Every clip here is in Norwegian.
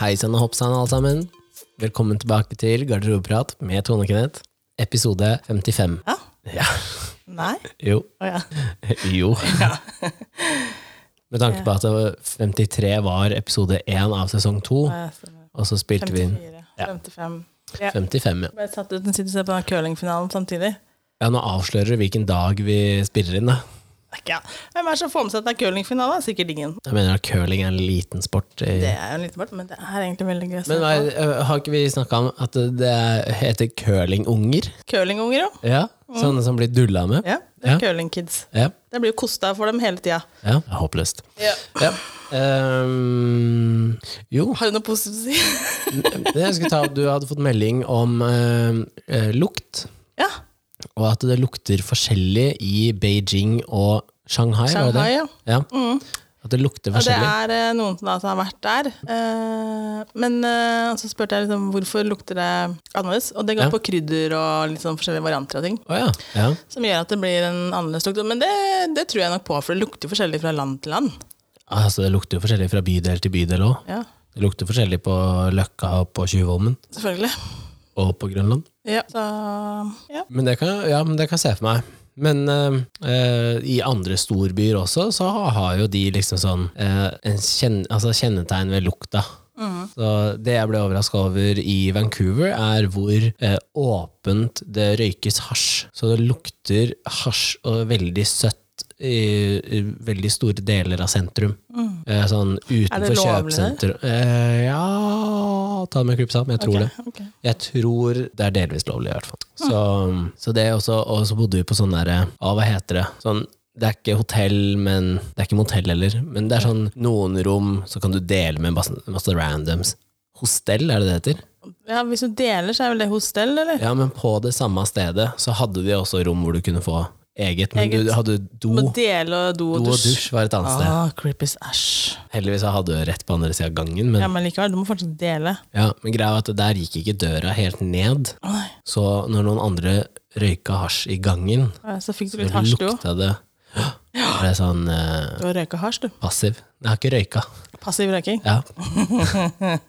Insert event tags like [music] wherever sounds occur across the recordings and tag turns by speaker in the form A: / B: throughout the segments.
A: Hei sann og hopp sann, alle sammen. Velkommen tilbake til Garderobeprat med Tone og Kenneth, episode 55.
B: Ja?
A: Ja,
B: Nei?
A: jo.
B: Å ja.
A: [laughs] Jo. Med tanke på at det var 53 var episode 1 av sesong 2,
B: Å, ja, stemmer.
A: og så spilte vi inn
B: 54, 55. Ja.
A: 55, ja.
B: Ble satt ut en sitter og ser på den curlingfinalen samtidig.
A: ja. Nå avslører du hvilken dag vi spiller inn, da.
B: Takk, ja. Hvem er det som får med seg at det er curlingfinale? Sikkert ingen.
A: Jeg mener at curling er en liten sport. i-
B: Det er jo en liten part, men det er egentlig veldig gøy. å se
A: Men hva,
B: på.
A: er- eh, har ikke vi snakka om at det heter curlingunger?
B: Curlingunger, jo.
A: Ja, sånne som blir dulla med.
B: Mm. Ja, det er
A: Ja.
B: curlingkids.
A: Ja,
B: Det blir jo kosta for dem hele tida.
A: ja. Håpløst.
B: Ja.
A: Ja. Ehm, jo,
B: Har du noe positivt å si? [laughs]
A: jeg skulle ta at du hadde fått melding om ehm, eh, lukt,
B: ja.
A: og at det lukter forskjellig i Beijing og Shanghai. var det?
B: Shanghai, ja.
A: Ja. At det lukter
B: Og det
A: forskjellig.
B: er eh, noen som da som har vært der. Eh, men eh, så spurte jeg liksom, hvorfor lukter det annerledes. Og det går
A: Ja.
B: på krydder og litt sånn forskjellige varianter av ting.
A: Å ja. ja.
B: Som gjør at det blir en annerledes lukt. Men det, det tror jeg nok på, for det lukter forskjellig fra land til land.
A: Altså, det lukter jo forskjellig fra bydel til bydel òg.
B: Ja,
A: Det lukter forskjellig på Løkka og på Tjuvholmen
B: selvfølgelig.
A: og på Grønland.
B: Ja, så, ja.
A: Men det kan, ja, men det kan jeg se for meg. Men eh, eh, i andre storbyer også, så har jo de liksom sånn eh, en kjen, altså kjennetegn ved lukta.
B: Mm.
A: Så det jeg ble overraska over i Vancouver, er hvor eh, åpent det røykes hasj. Så det lukter hasj og veldig søtt. I, I veldig store deler av sentrum. Eh, sånn utenfor
B: Mm. lovlig der?
A: kjøpesentrum. Eh, ja Ta det med en klype salt, men jeg tror det.
B: Ok.
A: Jeg tror det er delvis lovlig, i hvert fall. Så, så det er også, og så bodde vi på sånn derre ah, Hva heter det? Sånn, det er ikke hotell, men Det er ikke motell heller. Men det er sånn noen rom, så kan du dele med masse, masse randoms. Hostell, er det det heter?
B: ja, Hvis du deler, så er vel det hostell, eller?
A: Ja, men på det samme stedet så hadde de også rom hvor du kunne få eget, men
B: Eget.
A: du hadde do.
B: Må dele og do
A: Do
B: og
A: og
B: dusj.
A: dusj var et annet sted.
B: Ah, creepy æsj.
A: Heldigvis så hadde du rett på andre sida av gangen, men,
B: Ja, men likevel, du må fortsatt dele.
A: ja, men greia var at der gikk ikke døra helt ned.
B: Å, Nei.
A: Så når noen andre røyka hasj i gangen,
B: Ja, Så fikk du
A: Det
B: litt hasj, du òg.
A: lukta det. Det er sånn eh,
B: Du har røyka hasj, du.
A: passiv. Jeg har ikke røyka.
B: Passiv røyking.
A: Ja. Det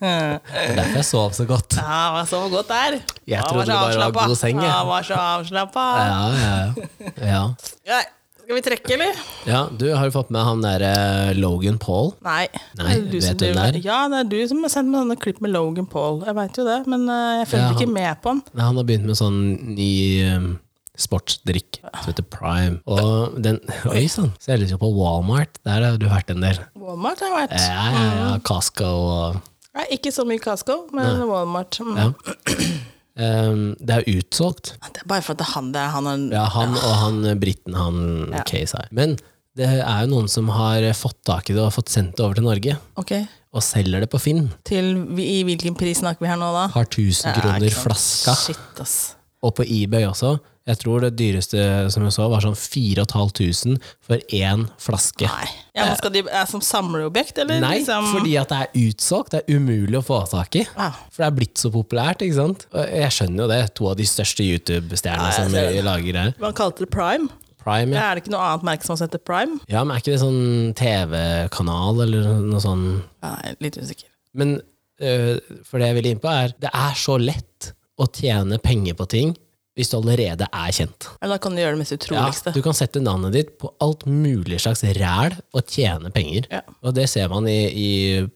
A: er derfor jeg sov så godt.
B: Ja, det var så godt der.
A: Jeg
B: Ja,
A: trodde
B: så
A: det bare var
B: avslappa.
A: god seng, jeg.
B: Ja, var så avslappa.
A: Ja, ja, ja. ja.
B: Nei, Skal vi trekke, eller?
A: ja du har jo fått med han derre Logan Paul.
B: Nei.
A: Nei,
B: det er du
A: vet
B: som
A: du hvem
B: driver-
A: det er?
B: Ja, det er du som har sendt meg sånne klipp med Logan Paul. Jeg veit jo det, men eh, jeg følger
A: Ja,
B: ikke
A: han-
B: med på han.
A: Nei, Han har begynt med sånn ny eh, sportsdrikk som heter Prime. Og den Oi sann! Selges jo på Walmart. Der har du vært en del.
B: Walmart har jeg vært.
A: Ja, ja, ja. Casca og
B: Nei, ikke så mye Casco, men Walmart. Mm.
A: Ja. Ehm, det er jo utsolgt.
B: Det er bare for at det er han det er. Han er
A: Ja, han og han eh, briten, han
B: Ja.
A: KSI. Men det er jo noen som har eh, fått tak i det og fått sendt det over til Norge,
B: Ok,
A: og selger det på Finn.
B: til vi, I hvilken pris snakker vi her nå, da?
A: Har 1000
B: Ja, ikke
A: kroner
B: sant.
A: flaska.
B: Shit, ass.
A: Og på eBay også. Jeg tror det dyreste som jeg så, var sånn 4500 for én flaske.
B: Nei. Ja, men skal de, er som samleobjekt, eller?
A: Eh. Nei,
B: liksom?
A: fordi at det er utsolgt. Det er umulig å få tak i.
B: Ja.
A: For det er blitt så populært, ikke sant. Og jeg skjønner jo det. To av de største YouTube-stjernene
B: jeg
A: som
B: ser det.
A: lager det her.
B: Man kalte det Prime.
A: Prime, ja.
B: Er det ikke noe annet merke som heter Prime?
A: ja. Men er ikke det sånn TV-kanal eller noe sånn
B: Nei, litt usikker.
A: Men øh, for det jeg vil inn på er Det er så lett å tjene penger på ting hvis du allerede er kjent.
B: Eller da kan du gjøre det mest
A: Ja,
B: utroligste.
A: du kan sette navnet ditt på alt mulig slags ræl og tjene penger.
B: Ja.
A: Og det ser man i, i,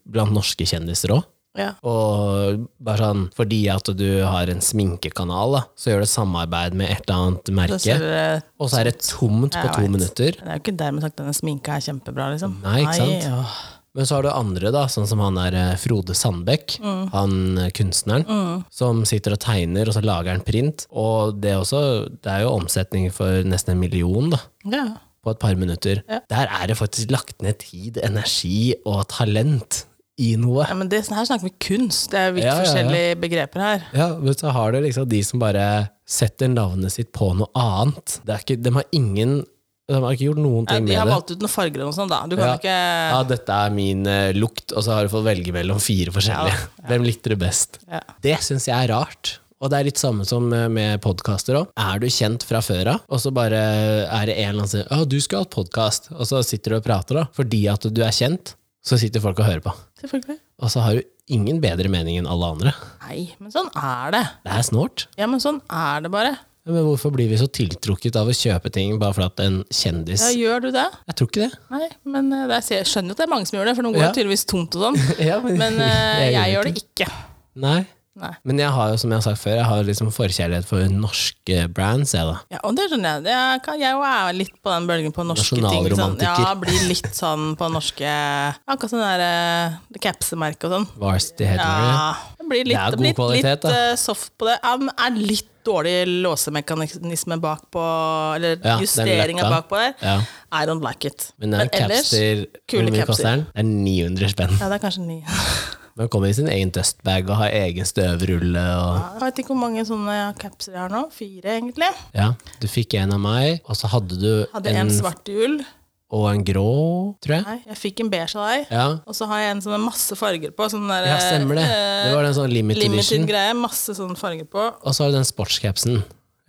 A: blant norske kjendiser òg.
B: Ja.
A: Og bare sånn, fordi at du har en sminkekanal, da, så gjør du et samarbeid med et eller annet
B: Da
A: merke,
B: ser du-
A: og så er det tomt på
B: Jeg
A: to
B: vet.
A: minutter.
B: Men Det er jo ikke dermed sagt at denne sminka er kjempebra, liksom.
A: Nei, ikke sant?
B: åh.
A: Men så har du andre, da, sånn som han der eh, Frode Sandbekk,
B: Mm.
A: han eh, kunstneren, som sitter og tegner, og så lager han print. Og det, er også, det er jo omsetning for nesten en million da,
B: Ja.
A: på et par minutter.
B: Ja.
A: Der er det faktisk lagt ned tid, energi og talent i noe.
B: ja, men det, her snakker vi kunst. Det er jo vidt
A: Ja, ja, ja.
B: forskjellige begreper her.
A: Ja, men så har du liksom de som bare setter navnet sitt på noe annet. Det er ikke, de har ingen De har ikke gjort noen
B: Ja,
A: ting
B: de har
A: med det.
B: valgt ut noen farger og sånn, da. Du kan
A: Ja.
B: ikke
A: Ja, dette er min eh, lukt, og så har du fått velge mellom fire forskjellige. Hvem likte det best?
B: ja.
A: Det syns jeg er rart. Og det er litt samme som eh, med podkaster òg. Er du kjent fra før av, og så bare er det en eller annen som sier 'Å, du skulle hatt podkast', og så sitter du og prater, da. Fordi at du er kjent, så sitter folk og hører på.
B: Selvfølgelig.
A: Og så har du ingen bedre mening enn alle andre.
B: Nei, men sånn er det.
A: Det er snålt.
B: Ja, men sånn er det bare.
A: Men hvorfor blir vi så tiltrukket av å kjøpe ting bare fordi at en kjendis
B: Ja, gjør du det?
A: Jeg tror ikke det.
B: Nei, men eh, det er, jeg skjønner jo at det er mange som gjør det, for noen går
A: Ja.
B: jo tydeligvis tomt og
A: [laughs]
B: sånn. Men eh, jeg gjør det ikke.
A: Nei.
B: Nei.
A: Men jeg har jo, som jeg har sagt før, jeg har liksom forkjærlighet for norske brands. Jeg, da.
B: Ja, og det skjønner jeg. Jeg, kan, jeg er litt på den bølgen på norske ting. Sånn.
A: Nasjonalromantiker.
B: Ja, blir litt sånn på norske Akkurat sånn der eh, det capsemerket og sånn.
A: Varsity Headwear.
B: Ja, det blir litt,
A: Det er
B: det blir
A: god kvalitet,
B: litt
A: da.
B: eh, soft på det. Ja, men er litt dårlig låsemekanisme bakpå, eller
A: Ja, den
B: justeringa
A: løkka.
B: bakpå der.
A: Ja.
B: I don't like it.
A: Men den capser Hvor
B: kule
A: mye
B: capser.
A: koster den? Det er 900 spenn.
B: Ja, det er kanskje ni.
A: Den kommer i sin egen dustbag og har egen støvrulle og
B: Jeg vet ikke hvor mange sånne ja, capser jeg har nå. Fire, egentlig.
A: Ja, du fikk en av meg, og så hadde du
B: Hadde
A: en,
B: en svart hjul.
A: og en grå, tror jeg.
B: Nei, jeg fikk en beige av deg.
A: Ja.
B: Og så har jeg en som er masse farger på. Sånn der,
A: ja, stemmer det.
B: eh,
A: Det var den sånn limited,
B: limited
A: edition.
B: greie. Masse sånn farger på.
A: Og så har du den sportscapsen.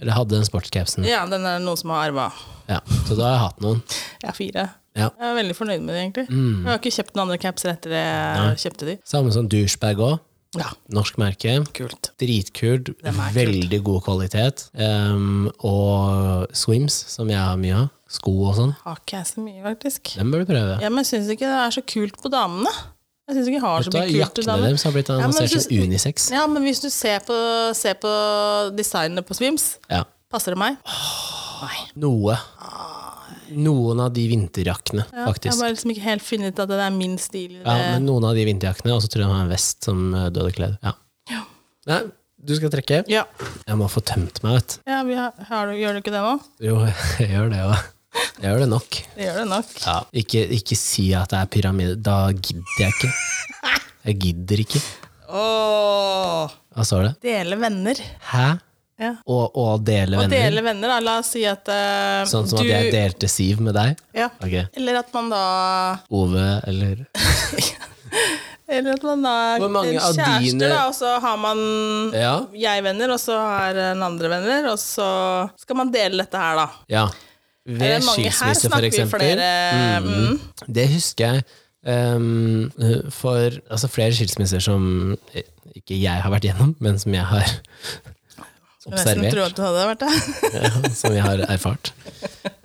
A: Eller hadde den sportscapsen.
B: Ja, den er det noen som har arva.
A: Ja, så da har jeg hatt noen.
B: Jeg har fire.
A: Ja.
B: Jeg er veldig fornøyd med det, egentlig.
A: Mm.
B: Jeg har ikke kjøpt noen andre capser etter det jeg kjøpte de.
A: Samme som douchebag òg.
B: Ja,
A: Norsk merke.
B: kult.
A: Dritkult.
B: Den er kult.
A: Veldig god kvalitet. Ehm, og swims, som jeg har mye av. Sko og sånn.
B: Har ikke jeg så mye, faktisk.
A: Den bør du prøve.
B: Ja, men jeg syns ikke det er så kult på damene. Jeg syns ikke jeg har
A: Vet
B: så
A: du hva,
B: mye kult
A: Jakkene
B: til damene.
A: deres har blitt
B: men
A: annonsert
B: jeg
A: som unisex.
B: Ja, men hvis du ser på, ser på designene på Swims,
A: Ja.
B: passer det meg? Nei.
A: Noe. Noen av de vinterjakkene,
B: Ja, jeg
A: faktisk.
B: har bare liksom ikke helt funnet ut at det er min stil. i
A: Ja,
B: det.
A: men noen av de vinterjakkene, og så tror jeg han har en vest som eh, du hadde kledd. Ja. Nei, du skal trekke.
B: ja.
A: Jeg må få tømt meg, vet du.
B: ja vi har, har du, gjør du ikke det nå?
A: Jo, [laughs] jeg gjør det òg. Jeg gjør det nok.
B: Det gjør det nok.
A: Ja. Ikke, ikke si at det er pyramide. Da gidder jeg
B: [laughs]
A: ikke. Jeg gidder ikke.
B: Åh,
A: Hva står det?
B: dele venner.
A: Hæ?
B: Ja.
A: Og, og dele venner?
B: Å dele venner, da. La oss si at eh,
A: Sånn som
B: du
A: at jeg delte Siv med deg?
B: ja.
A: Ok.
B: Eller at man da
A: Ove, eller
B: Eller at man da
A: Hvor mange av
B: kjærester,
A: dine-
B: da, og så har man
A: Ja.
B: jeg-venner, og så har en andre venner, og så skal man dele dette her, da.
A: ja.
B: Er
A: Ved
B: det mange- her
A: skilsmisse, for
B: snakker vi
A: eksempel.
B: flere-
A: Mm. Det husker jeg ehm, for altså, flere skilsmisser som eh, ikke jeg har vært gjennom, men som jeg har
B: Skulle nesten
A: Observert.
B: tro at det hadde vært det.
A: som jeg har erfart.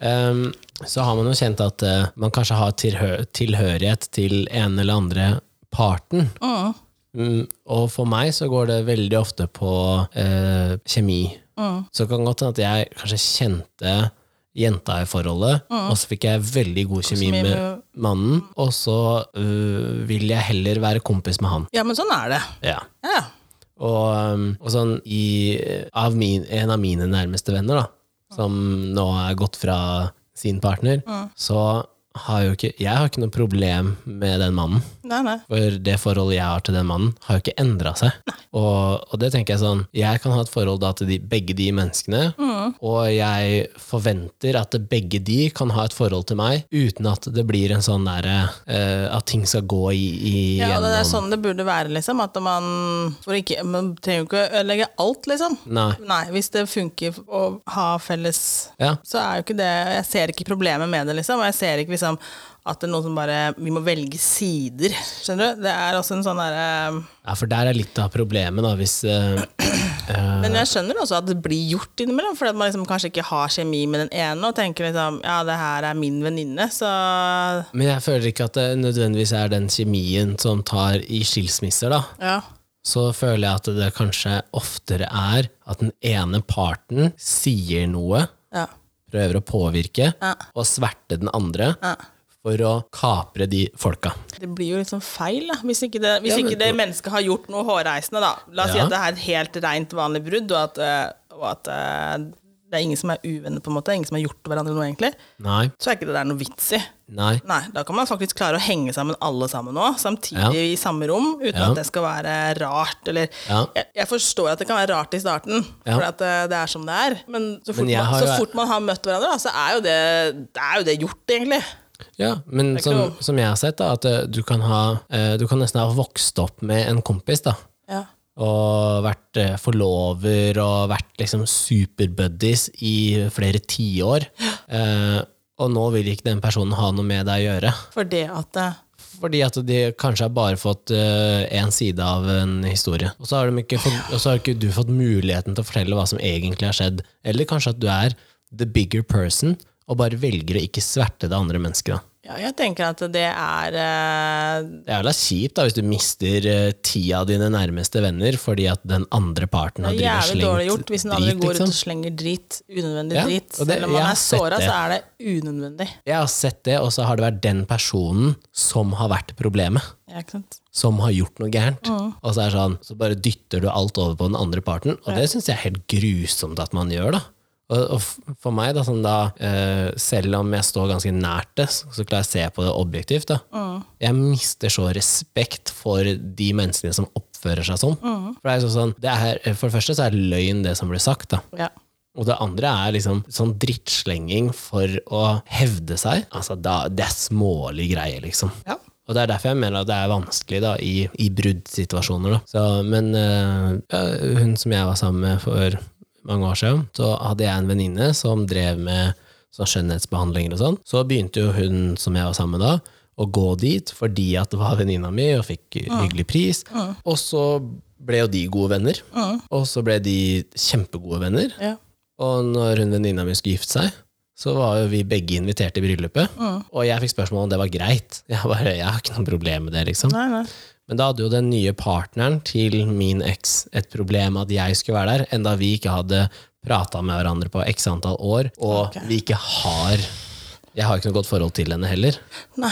A: Ehm, så har man jo kjent at eh, man kanskje har tilhø tilhørighet til en eller andre parten.
B: Mm.
A: Mm, og for meg så går det veldig ofte på eh, kjemi. Så det kan godt hende at jeg kanskje kjente jenta i forholdet, og så fikk jeg veldig god kjemi
B: Kjemi
A: med
B: med-
A: mannen, og så øh, vil jeg heller være kompis med han.
B: [laughs] Ja, men sånn er det.
A: Ja.
B: Ja.
A: Og, øhm, og sånn i, av min, en av mine nærmeste venner, da, som nå er gått fra sin partner, så har jo ikke Jeg har ikke noe problem med den mannen.
B: Nei, nei.
A: For det forholdet jeg har til den mannen, har jo ikke endra seg. Og, og det tenker jeg sånn Jeg kan ha et forhold da til de, begge de menneskene,
B: Mm.
A: og jeg forventer at begge de kan ha et forhold til meg uten at det blir en sånn derre eh, At ting skal gå i, i
B: Ja, og det er
A: gjennom-
B: sånn det burde være, liksom. At man, for ikke, man trenger jo ikke å ødelegge alt, liksom.
A: Nei.
B: Nei, hvis det funker å ha felles
A: Ja.
B: så er jo ikke det Jeg ser ikke problemet med det, liksom. Og jeg ser ikke liksom, at det er noen som bare Vi må velge sider. Skjønner du? Det er også en sånn derre
A: ja, for der er litt av problemet, da, hvis eh,
B: Men jeg skjønner også at det blir gjort innimellom, fordi at man liksom kanskje ikke har kjemi med den ene og tenker liksom Ja, det her er min venninne, så
A: Men jeg føler ikke at det nødvendigvis er den kjemien som tar i skilsmisser, da.
B: Ja.
A: så føler jeg at det kanskje oftere er at den ene parten sier noe,
B: Ja.
A: prøver å påvirke,
B: Ja.
A: og sverte den andre
B: ja.
A: for å kapre de folka.
B: Det blir jo litt sånn feil, da. Hvis ikke det, hvis
A: Ja, men-
B: ikke det mennesket har gjort noe hårreisende, da. La oss si
A: Ja.
B: at det er et helt rent vanlig brudd, og at, øh, og at øh, det er ingen som er uvenner, på en måte. Ingen som har gjort hverandre noe, egentlig.
A: Nei,
B: Så er ikke det der noe vits i.
A: nei.
B: Nei, da kan man faktisk klare å henge sammen alle sammen nå, samtidig
A: Ja.
B: i samme rom, uten
A: Ja.
B: at det skal være rart. Eller,
A: Ja.
B: jeg, jeg forstår at det kan være rart i starten,
A: Ja.
B: for at eh, det er som det er. Men så fort,
A: Men jeg
B: man,
A: har
B: så
A: jo-
B: fort man har møtt hverandre, da, så er jo det, det, er jo det gjort, egentlig.
A: Ja, men
B: ikke
A: som,
B: noe.
A: som jeg har sett, da, at eh, du kan, ha, eh, du kan nesten ha vokst opp med en kompis, da.
B: Ja.
A: Og vært eh, forlover og vært liksom superbuddies i flere tiår. Eh, og nå vil ikke den personen ha noe med deg å gjøre.
B: For det at eh,
A: Fordi at de kanskje har bare fått én side av en historie. Og så har, de ikke fått, og så har ikke du fått muligheten til å fortelle hva som egentlig har skjedd. Eller kanskje at du er the bigger person og bare velger å ikke sverte det andre mennesket. da.
B: Ja, jeg tenker at det er eh,
A: Det er jævla kjipt da hvis du mister eh, ti av dine nærmeste venner fordi at den andre parten har
B: Det er
A: drevet og
B: jævlig dårlig gjort hvis den andre
A: slengt drit.
B: går rundt
A: Liksom.
B: og slenger drit. Unødvendig
A: Ja,
B: drit.
A: og det-
B: Selv om man
A: jeg har
B: er
A: sett
B: såra,
A: det.
B: så er det unødvendig.
A: Jeg har sett det, og så har det vært den personen som har vært problemet.
B: Ja, ikke sant?
A: Som har gjort noe gærent. Og så er det sånn, så bare dytter du alt over på den andre parten. Og det syns jeg er helt grusomt at man gjør, da. Og, og f- for meg, da, sånn da, eh, selv om jeg står ganske nært det, så så klarer jeg å se på det objektivt. da. Jeg mister så respekt for de menneskene som oppfører seg sånn. For, det er jo sånn det er, for det første så er løgn det som blir sagt. da.
B: Ja.
A: Og det andre er liksom sånn drittslenging for å hevde seg. Altså, da, Det er smålig greie, liksom.
B: Ja.
A: Og det er derfor jeg mener at det er vanskelig da, i, i bruddsituasjoner. Da. Så, men eh, ja, hun som jeg var sammen med for mange år siden, så hadde jeg en venninne som drev med sånn skjønnhetsbehandlinger og sånn. Så begynte jo hun som jeg var sammen med da, å gå dit fordi at det var venninna mi og fikk hyggelig pris. Og så ble jo de gode venner. Og så ble de kjempegode venner.
B: Ja.
A: Og når hun venninna mi skulle gifte seg, så var jo vi begge invitert til bryllupet.
B: Mm.
A: Og jeg fikk spørsmål om det var greit. Jeg bare, jeg har ikke noe problem med det, liksom.
B: Nei, nei.
A: Men da hadde jo den nye partneren til min eks et problem at jeg skulle være der, enda vi ikke hadde prata med hverandre på x antall år, og
B: Ok.
A: vi ikke har Jeg har ikke noe godt forhold til henne heller.
B: nei.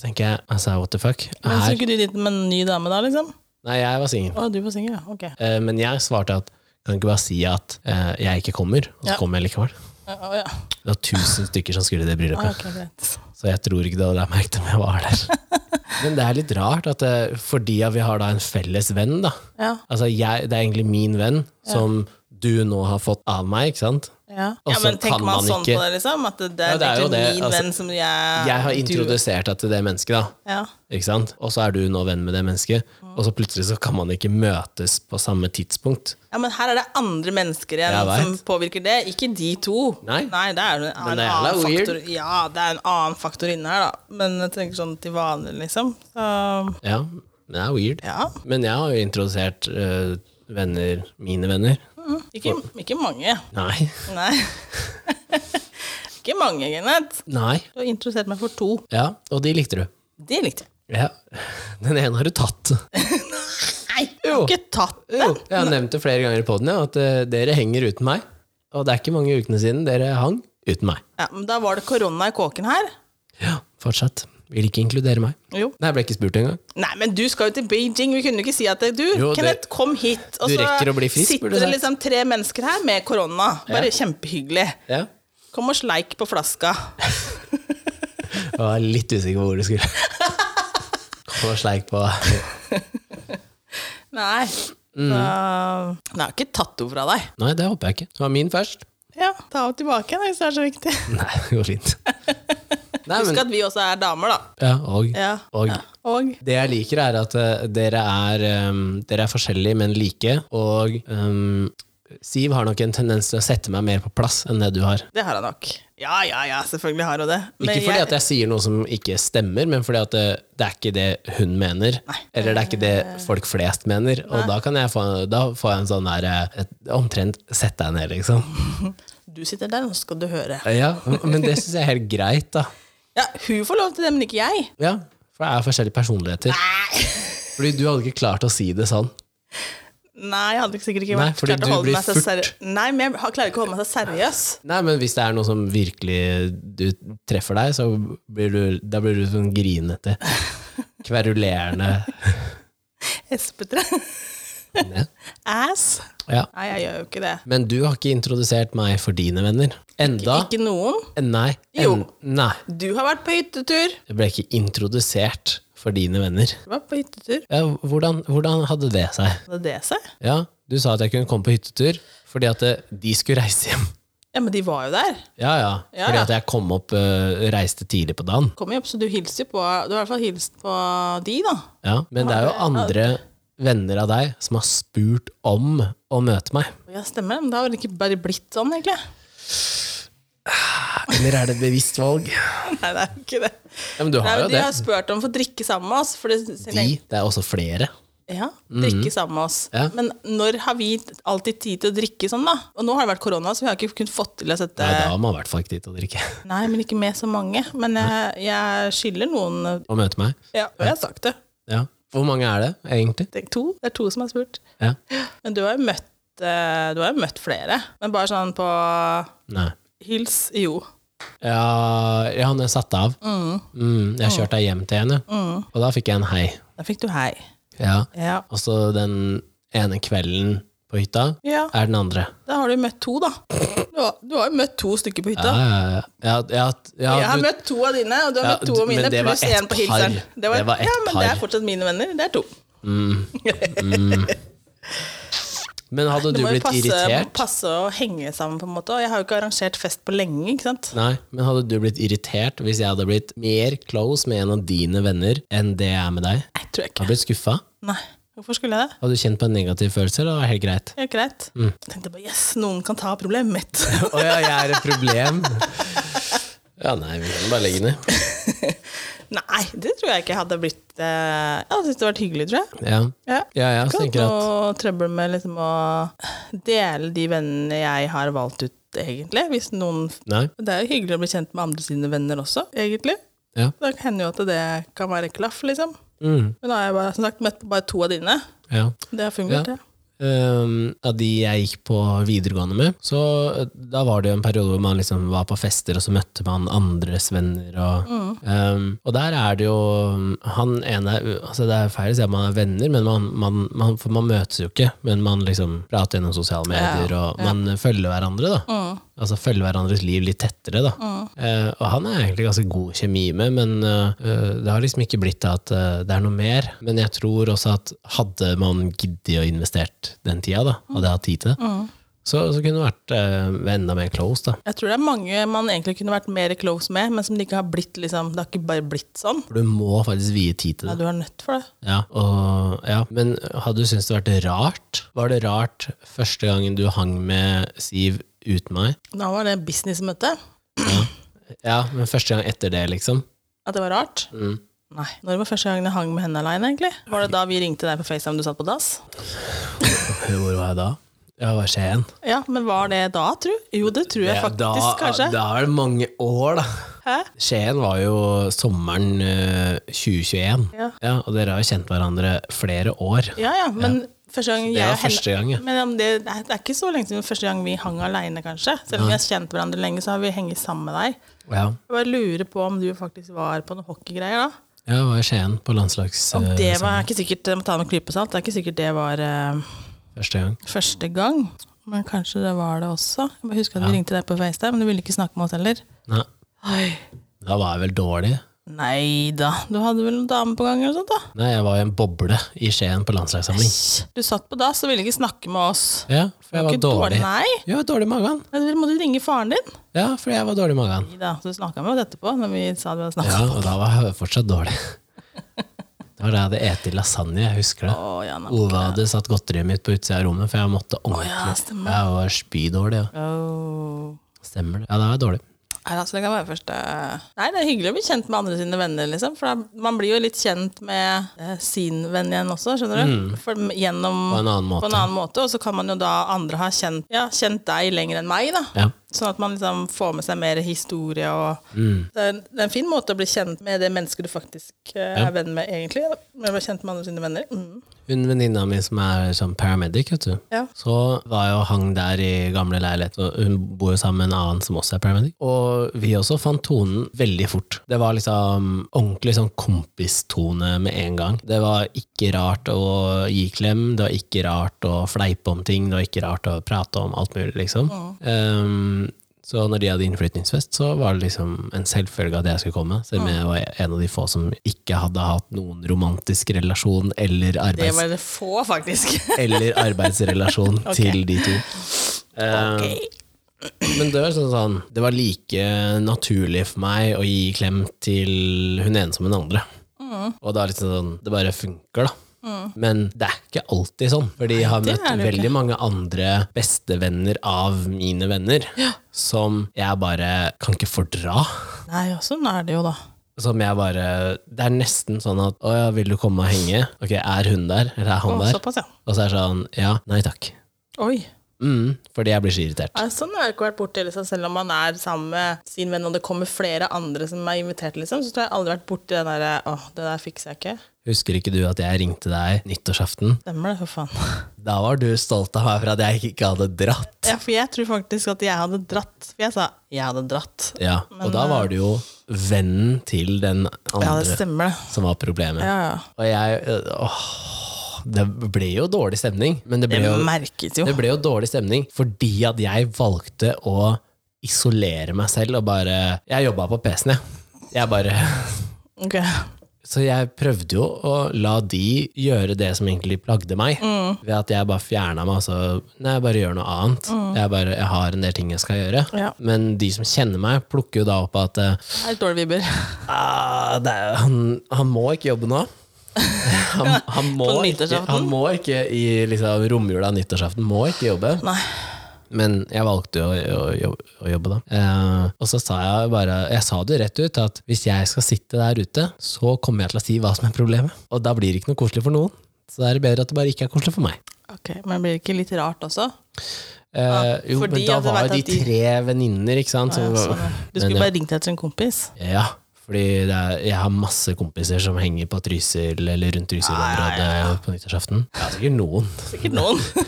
A: Så tenker jeg, altså, what the fuck?
B: Men så
A: Her?
B: ikke du dit med en ny dame da, liksom?
A: Nei, jeg var singel.
B: Å, du var singel, ja. Ok.
A: Eh, Men jeg svarte at kan du ikke bare si at eh, jeg ikke kommer, og så
B: Ja.
A: kommer jeg likevel.
B: Ja, Å, ja.
A: Det var tusen stykker som skulle i det
B: Å,
A: bryllupet.
B: ok, greit.
A: Så jeg tror ikke det hadde jeg merket om jeg var der.
B: [laughs]
A: Men det er litt rart, at eh, fordi at vi har da en felles venn, da.
B: Ja.
A: Altså jeg, det er egentlig min venn som du nå har fått av meg, ikke sant?
B: Ja.
A: Og
B: ja,
A: så
B: men
A: Altså, kan
B: tenker man
A: man
B: sånn
A: ikke-
B: på det, liksom? At det, det
A: Ja,
B: er,
A: det er jo
B: egentlig
A: det,
B: min
A: altså,
B: venn som jeg
A: Jeg har
B: du-
A: introdusert deg til det mennesket, da.
B: Ja. Mm.
A: Ikke sant? Og så er du nå venn med det mennesket, og så plutselig så kan man ikke møtes på samme tidspunkt.
B: ja, men her er det andre mennesker
A: Jeg
B: igjen
A: vet.
B: som påvirker det, ikke de to.
A: Nei.
B: det er jo en,
A: Men
B: en
A: det er
B: annen
A: jævla weird.
B: faktor Ja, det er en annen faktor inne her, da. Men jeg tenker sånn til vanlig, liksom. Så
A: Ja, det er weird.
B: ja.
A: Men jeg har jo introdusert eh, venner, mine venner.
B: Mm. Ikke, ikke mange.
A: Nei.
B: Nei. [laughs] ikke mange, Kenneth.
A: Nei.
B: Du har introdusert meg for to.
A: Ja, og de likte du.
B: Det likte jeg.
A: Ja. Den ene har du tatt.
B: Nei, jeg har
A: Jo.
B: ikke tatt det.
A: Jo, jeg har nevnt det flere ganger i poden, ja, at eh, dere henger uten meg. Og det er ikke mange ukene siden dere hang uten meg.
B: Ja, men da var det korona i kåken her.
A: Ja, fortsatt. Vil ikke inkludere meg.
B: Jo.
A: Nei, jeg ble ikke spurt engang.
B: Nei, men du skal jo til Beijing. Vi kunne jo ikke si at det, du,
A: Jo, det-
B: Kenneth, kom hit. Og
A: Du
B: så
A: rekker å bli frisk, burde du
B: sitter det liksom tre mennesker her med korona. Bare kjempehyggelig.
A: Ja.
B: Kom og sleik på flaska.
A: Jeg var litt usikker på hvor du
B: [laughs]
A: skulle. Kom og sleik på
B: Nei.
A: Mm.
B: Så, Nei, jeg har ikke tatt henne fra deg.
A: Nei, det håper jeg ikke. Det var min først.
B: Ja, ta henne tilbake da, hvis det er så viktig.
A: Nei, det går fint. Nei,
B: Husk
A: men
B: at vi også er damer, da.
A: ja, og,
B: Ja.
A: og
B: Og
A: det jeg liker, er at eh, dere er, eh, dere er forskjellige, men like. Og eh, Siv har nok en tendens til å sette meg mer på plass enn det du har.
B: det har jeg nok. Ja, ja, ja, selvfølgelig har hun det. Men
A: Ikke fordi at jeg sier noe som ikke stemmer, men fordi at det, det er ikke det hun mener. Eller det er ikke det folk flest mener. Og da, kan jeg få, da får jeg en sånn der eh, et, Omtrent sett deg ned, liksom.
B: Du sitter der, nå skal du høre.
A: Ja, Men det syns jeg er helt greit, da.
B: Ja, hun får lov til det, men ikke jeg.
A: Ja, For det er forskjellige personligheter. Fordi du hadde ikke klart å si det sånn.
B: Nei, jeg hadde sikkert ikke
A: Nei,
B: vært
A: fordi
B: klart å
A: du
B: holde
A: blir
B: meg så
A: furt.
B: seriøs. Nei, men jeg har- klarer ikke å holde meg så
A: [laughs]
B: seriøs.
A: Nei, men hvis det er noe som virkelig du treffer deg, så blir du, da blir du sånn grinete. Kverulerende.
B: Espetre.
A: Ja.
B: Ass.
A: Ja.
B: Nei, jeg gjør jo ikke det.
A: Men du har ikke introdusert meg for dine venner. Enda.
B: Ikke noen.
A: Nei.
B: Jo.
A: En, nei.
B: Du har vært på hyttetur.
A: Jeg ble ikke introdusert for dine venner.
B: Du var på hyttetur.
A: Ja, hvordan, hvordan hadde det seg?
B: Hadde det seg?
A: Ja, du sa at jeg kunne komme på hyttetur fordi at eh, de skulle reise hjem.
B: Ja, men de var jo der.
A: Ja, ja.
B: Ja,
A: Fordi
B: ja.
A: at jeg kom opp, eh, reiste tidlig på dagen.
B: Kom jo opp, så du hilste jo på Du har i hvert fall hilst på de, da.
A: Ja, men det er jo andre venner av deg som har spurt om å møte meg.
B: Ja, stemmer det. Men det har vel ikke bare blitt sånn, egentlig.
A: Eller er det et bevisst valg? Ja,
B: [laughs] Nei, det er jo ikke det.
A: men du
B: Nei,
A: har
B: men
A: jo
B: de
A: det.
B: har spurt om å få drikke sammen med oss. For det, jeg
A: De,
B: tenkte,
A: det er også flere.
B: ja, drikke sammen med oss.
A: Mhm. Ja.
B: Men når har vi alltid tid til å drikke sånn, da? Og nå har det vært korona, så vi har ikke kunnet fått til å sette
A: Nei, da har man i hvert fall ikke tid til å drikke.
B: Nei, men ikke med så mange. Men jeg, jeg skylder noen
A: Og møte meg.
B: Ja, og jeg har sagt det.
A: Ja. Hvor mange er det, egentlig?
B: Det er to. Det er to som har spurt.
A: Ja.
B: Men du har jo møtt, eh, du har jo møtt flere. Men bare sånn på
A: Nei.
B: hils Jo.
A: Ja, ja, når jeg satte av. Mm, jeg kjørte deg hjem til henne,
B: Mm.
A: og da fikk jeg en hei.
B: Da fikk du hei.
A: Ja.
B: Ja.
A: Og så den ene kvelden på hytta
B: ja.
A: er den andre.
B: Da har du møtt to, da. Du har, du har jo møtt to stykker på hytta.
A: Ja, ja, ja. ja, ja,
B: jeg
A: ja
B: har
A: du,
B: møtt to av dine, og du har
A: Ja,
B: møtt to
A: du-
B: av mine,
A: men det var
B: pluss
A: ett
B: én på
A: par.
B: hilseren.
A: Det var ett
B: ja, men det
A: par.
B: er fortsatt mine venner. Det er to.
A: men hadde
B: Det
A: du
B: må jo
A: blitt
B: passe,
A: irritert?
B: passe å henge sammen, på en måte. Og jeg har jo ikke arrangert fest på lenge, ikke sant.
A: Nei, men hadde du blitt irritert hvis jeg hadde blitt mer close med en av dine venner enn det jeg er med deg?
B: Nei, tror jeg ikke.
A: Hadde du blitt skuffa?
B: Nei. Hvorfor skulle jeg det?
A: Hadde du kjent på en negativ følelse, eller var det helt greit?
B: Det er greit. Jeg tenkte bare yes, noen kan ta problemet mitt.
A: Å Mm. [laughs] ja, jeg er et problem. [laughs] Ja, nei, vi kan bare legge ned.
B: [laughs] Nei, det tror jeg ikke hadde blitt eh, Jeg hadde syntes det hadde vært hyggelig, tror jeg.
A: Ja,
B: Ja.
A: ja jeg også
B: Ikke hatt
A: tenker at
B: noe trøbbel med liksom å dele de vennene jeg har valgt ut, egentlig. Hvis noen
A: Nei.
B: Det er jo hyggelig å bli kjent med andre sine venner også, egentlig.
A: Ja.
B: Da hender jo at det kan være klaff, liksom.
A: Mm,
B: Men da har jeg bare, som sagt, møtt på bare to av dine.
A: ja.
B: Det har fungert,
A: Ja.
B: det.
A: Um, av de jeg gikk på videregående med, så uh, da var det jo en periode hvor man liksom var på fester, og så møtte man andres venner. Og, um, og der er det jo um, Han ene altså Det er feil å si at man er venner, men man, man, man, for man møtes jo ikke. Men man liksom prater gjennom sosiale medier, og man følger hverandre. da Altså følge hverandres liv litt tettere, da. Eh, og han er egentlig ganske god kjemi med, men eh, eh, det har liksom ikke blitt at eh, det er noe mer. Men jeg tror også at hadde man giddet å investert den tida, da, hadde jeg hatt tid til det, så, så kunne det vært eh, enda mer close, da.
B: Jeg tror det er mange man egentlig kunne vært mer close med, men som det ikke har blitt liksom, det har ikke bare blitt sånn.
A: For du må faktisk vie tid til
B: Ja,
A: det.
B: du har nødt for det.
A: Ja, og, ja. Men hadde du syntes det vært rart? Var det rart første gangen du hang med Siv uten meg?
B: Da var det businessmøte.
A: Ja, men første gang etter det, liksom?
B: At det var rart.
A: Mm.
B: Nei. Når var første gangen jeg hang med henne aleine, egentlig? Var det da vi ringte deg på FaceTime du satt på dass?
A: Hvor var jeg da? Ja, hva skjer igjen?
B: Ja, men var det da, tru? Jo, det tror jeg
A: Ja,
B: faktisk,
A: da,
B: kanskje.
A: Da er det mange år, da.
B: Hæ?
A: Skien var jo sommeren eh, 2021,
B: Ja.
A: og dere har jo kjent hverandre flere år.
B: Ja ja, men første gang
A: Det
B: jeg
A: var
B: og henne-
A: første gang, ja.
B: Men om det, det er- det er ikke så lenge siden første gang vi hang aleine, kanskje. Selv om vi har kjent hverandre lenge, så har vi hengt sammen med deg.
A: Ja,
B: Jeg bare lurer på om du faktisk var på noen hockeygreier da.
A: ja det var i Skien på landslags
B: Om
A: eh,
B: det var ikke sikkert, jeg må ta det med en klype salt, det er ikke sikkert det var eh,
A: første gang.
B: første gang. Men kanskje det var det også. Jeg bare husker at vi ringte deg på FaceTime, men du ville ikke snakke med oss heller.
A: Nei, da var jeg vel dårlig.
B: Nei da, du hadde vel noen dame på gang eller noe sånt da?
A: Nei, jeg var i en boble i Skien på landslagssamling.
B: Du satt på dass og ville ikke snakke med oss.
A: Ja, for jeg var
B: Ikke
A: dårlig.
B: Nei,
A: Jeg var dårlig i magen.
B: Nei, du måtte ringe faren din.
A: Ja, fordi jeg var dårlig i magen.
B: Nei da, du snakka med oss etterpå når vi sa vi hadde
A: Ja,
B: snakket.
A: og da var jeg fortsatt dårlig.
B: [laughs]
A: Det var da jeg hadde etet lasagne, jeg husker det.
B: Å ja, nei.
A: Ove hadde satt godteriet mitt på utsida av rommet, for jeg måtte ordentlig.
B: ja, stemmer.
A: jeg var spydårlig, ja.
B: Åh.
A: Stemmer det. Ja, det var dårlig.
B: Nei, altså, det kan være første Nei, det er hyggelig å bli kjent med andre sine venner, liksom. For da, man blir jo litt kjent med eh, sin venn igjen også, skjønner du? For, gjennom
A: Mm. På en annen måte.
B: på en annen måte. Og så kan man jo da andre ha kjent, ja, kjent deg lenger enn meg, da.
A: Ja.
B: Sånn at man liksom får med seg mer historie og
A: Mm.
B: det, er, det er en fin måte å bli kjent med det mennesket du faktisk eh, er venn med, egentlig. Da. Med å bli kjent med andre sine venner. Mm.
A: Hun venninna mi som er sånn paramedic, vet du.
B: Ja.
A: Så var jeg og hang der i gamle leilighet, og hun bor jo sammen med en annen som også er paramedic. Og vi også fant tonen veldig fort. Det var liksom ordentlig sånn kompistone med en gang. Det var ikke rart å gi klem, det var ikke rart å fleipe om ting, det var ikke rart å prate om alt mulig, liksom. Um, så når de hadde innflytningsfest, så var det liksom en selvfølge at jeg skulle komme. Selv om jeg var en av de få som ikke hadde hatt noen romantisk relasjon eller
B: Det
A: arbeids
B: var det få, faktisk. [laughs]
A: eller arbeidsrelasjon til de to. Eh,
B: Ok.
A: Men det var, sånn, sånn, det var like naturlig for meg
B: Mm.
A: å gi klem til hun ene som hun andre. Og da liksom sånn, det sånn, bare funker, da. Men det er ikke alltid sånn. For jeg har
B: det
A: møtt
B: er det jo
A: veldig mange andre bestevenner av mine venner som jeg bare kan ikke fordra.
B: Nei, ja, sånn er det jo, da.
A: Som jeg bare Det er nesten sånn at Å ja, vil du komme og henge? Ok, er hun der? Eller er han
B: Å,
A: Sånn der?
B: såpass, ja.
A: Og så er det sånn Ja, nei takk.
B: Oi.
A: Mm, fordi jeg blir så irritert.
B: Nei, sånn har jeg ikke vært borti, liksom. selv om man er sammen med sin venn, og det kommer flere andre som er invitert, liksom, så tror jeg aldri vært borti den derre Å, det der fikser jeg ikke.
A: Husker ikke du at jeg ringte deg nyttårsaften?
B: Stemmer det, for faen. [laughs]
A: Da var du stolt av meg for at jeg ikke hadde dratt.
B: Ja, for jeg tror faktisk at jeg hadde dratt. For jeg sa 'jeg hadde dratt'.
A: Ja, Og da var det jo vennen til den
B: eh, Ja, det
A: andre
B: stemmer, det.
A: som var problemet.
B: Ja, ja.
A: Og jeg øh, åh, Det ble jo dårlig stemning. Men det ble
B: Det
A: jo,
B: merkes jo.
A: det ble jo dårlig stemning fordi at jeg valgte å isolere meg selv og bare Jeg jobba på PC-en, jeg. jeg bare,
B: Ok.
A: så jeg prøvde jo å la de gjøre det som egentlig plagde meg, ved at jeg bare fjerna meg. Altså, nei, jeg bare gjør noe annet. Jeg, bare, jeg har en del ting jeg skal gjøre.
B: Ja.
A: Men de som kjenner meg, plukker jo da opp at eh,
B: Det er litt dårlige vibber.
A: Ah, det er, han, han må ikke jobbe nå. Han,
B: [laughs]
A: han, må,
B: På
A: ikke,
B: nyttårsaften?
A: han må ikke i liksom, romjula nyttårsaften må ikke jobbe.
B: Nei.
A: Men jeg valgte jo å, å, jobbe, å jobbe da. Eh, og så sa jeg bare Jeg sa det rett ut at hvis jeg skal sitte der ute, så kommer jeg til å si hva som er problemet. Og da blir det ikke noe koselig for noen. Så da er det bedre at det bare ikke er koselig for meg.
B: Ok, Men blir det ikke litt rart også?
A: Eh, jo,
B: fordi
A: men da
B: at jeg
A: var jo
B: vet
A: de
B: at de-
A: tre venninner, ikke sant?
B: Ja,
A: som-
B: sånn, ja. Du
A: Men,
B: skulle
A: ja.
B: bare ringt etter en kompis.
A: Ja, fordi det er, jeg har masse kompiser som henger på Trysil eller rundt Trysil-området på nyttårsaften. Jeg har sikkert noen.
B: Sikkert noen. [laughs] det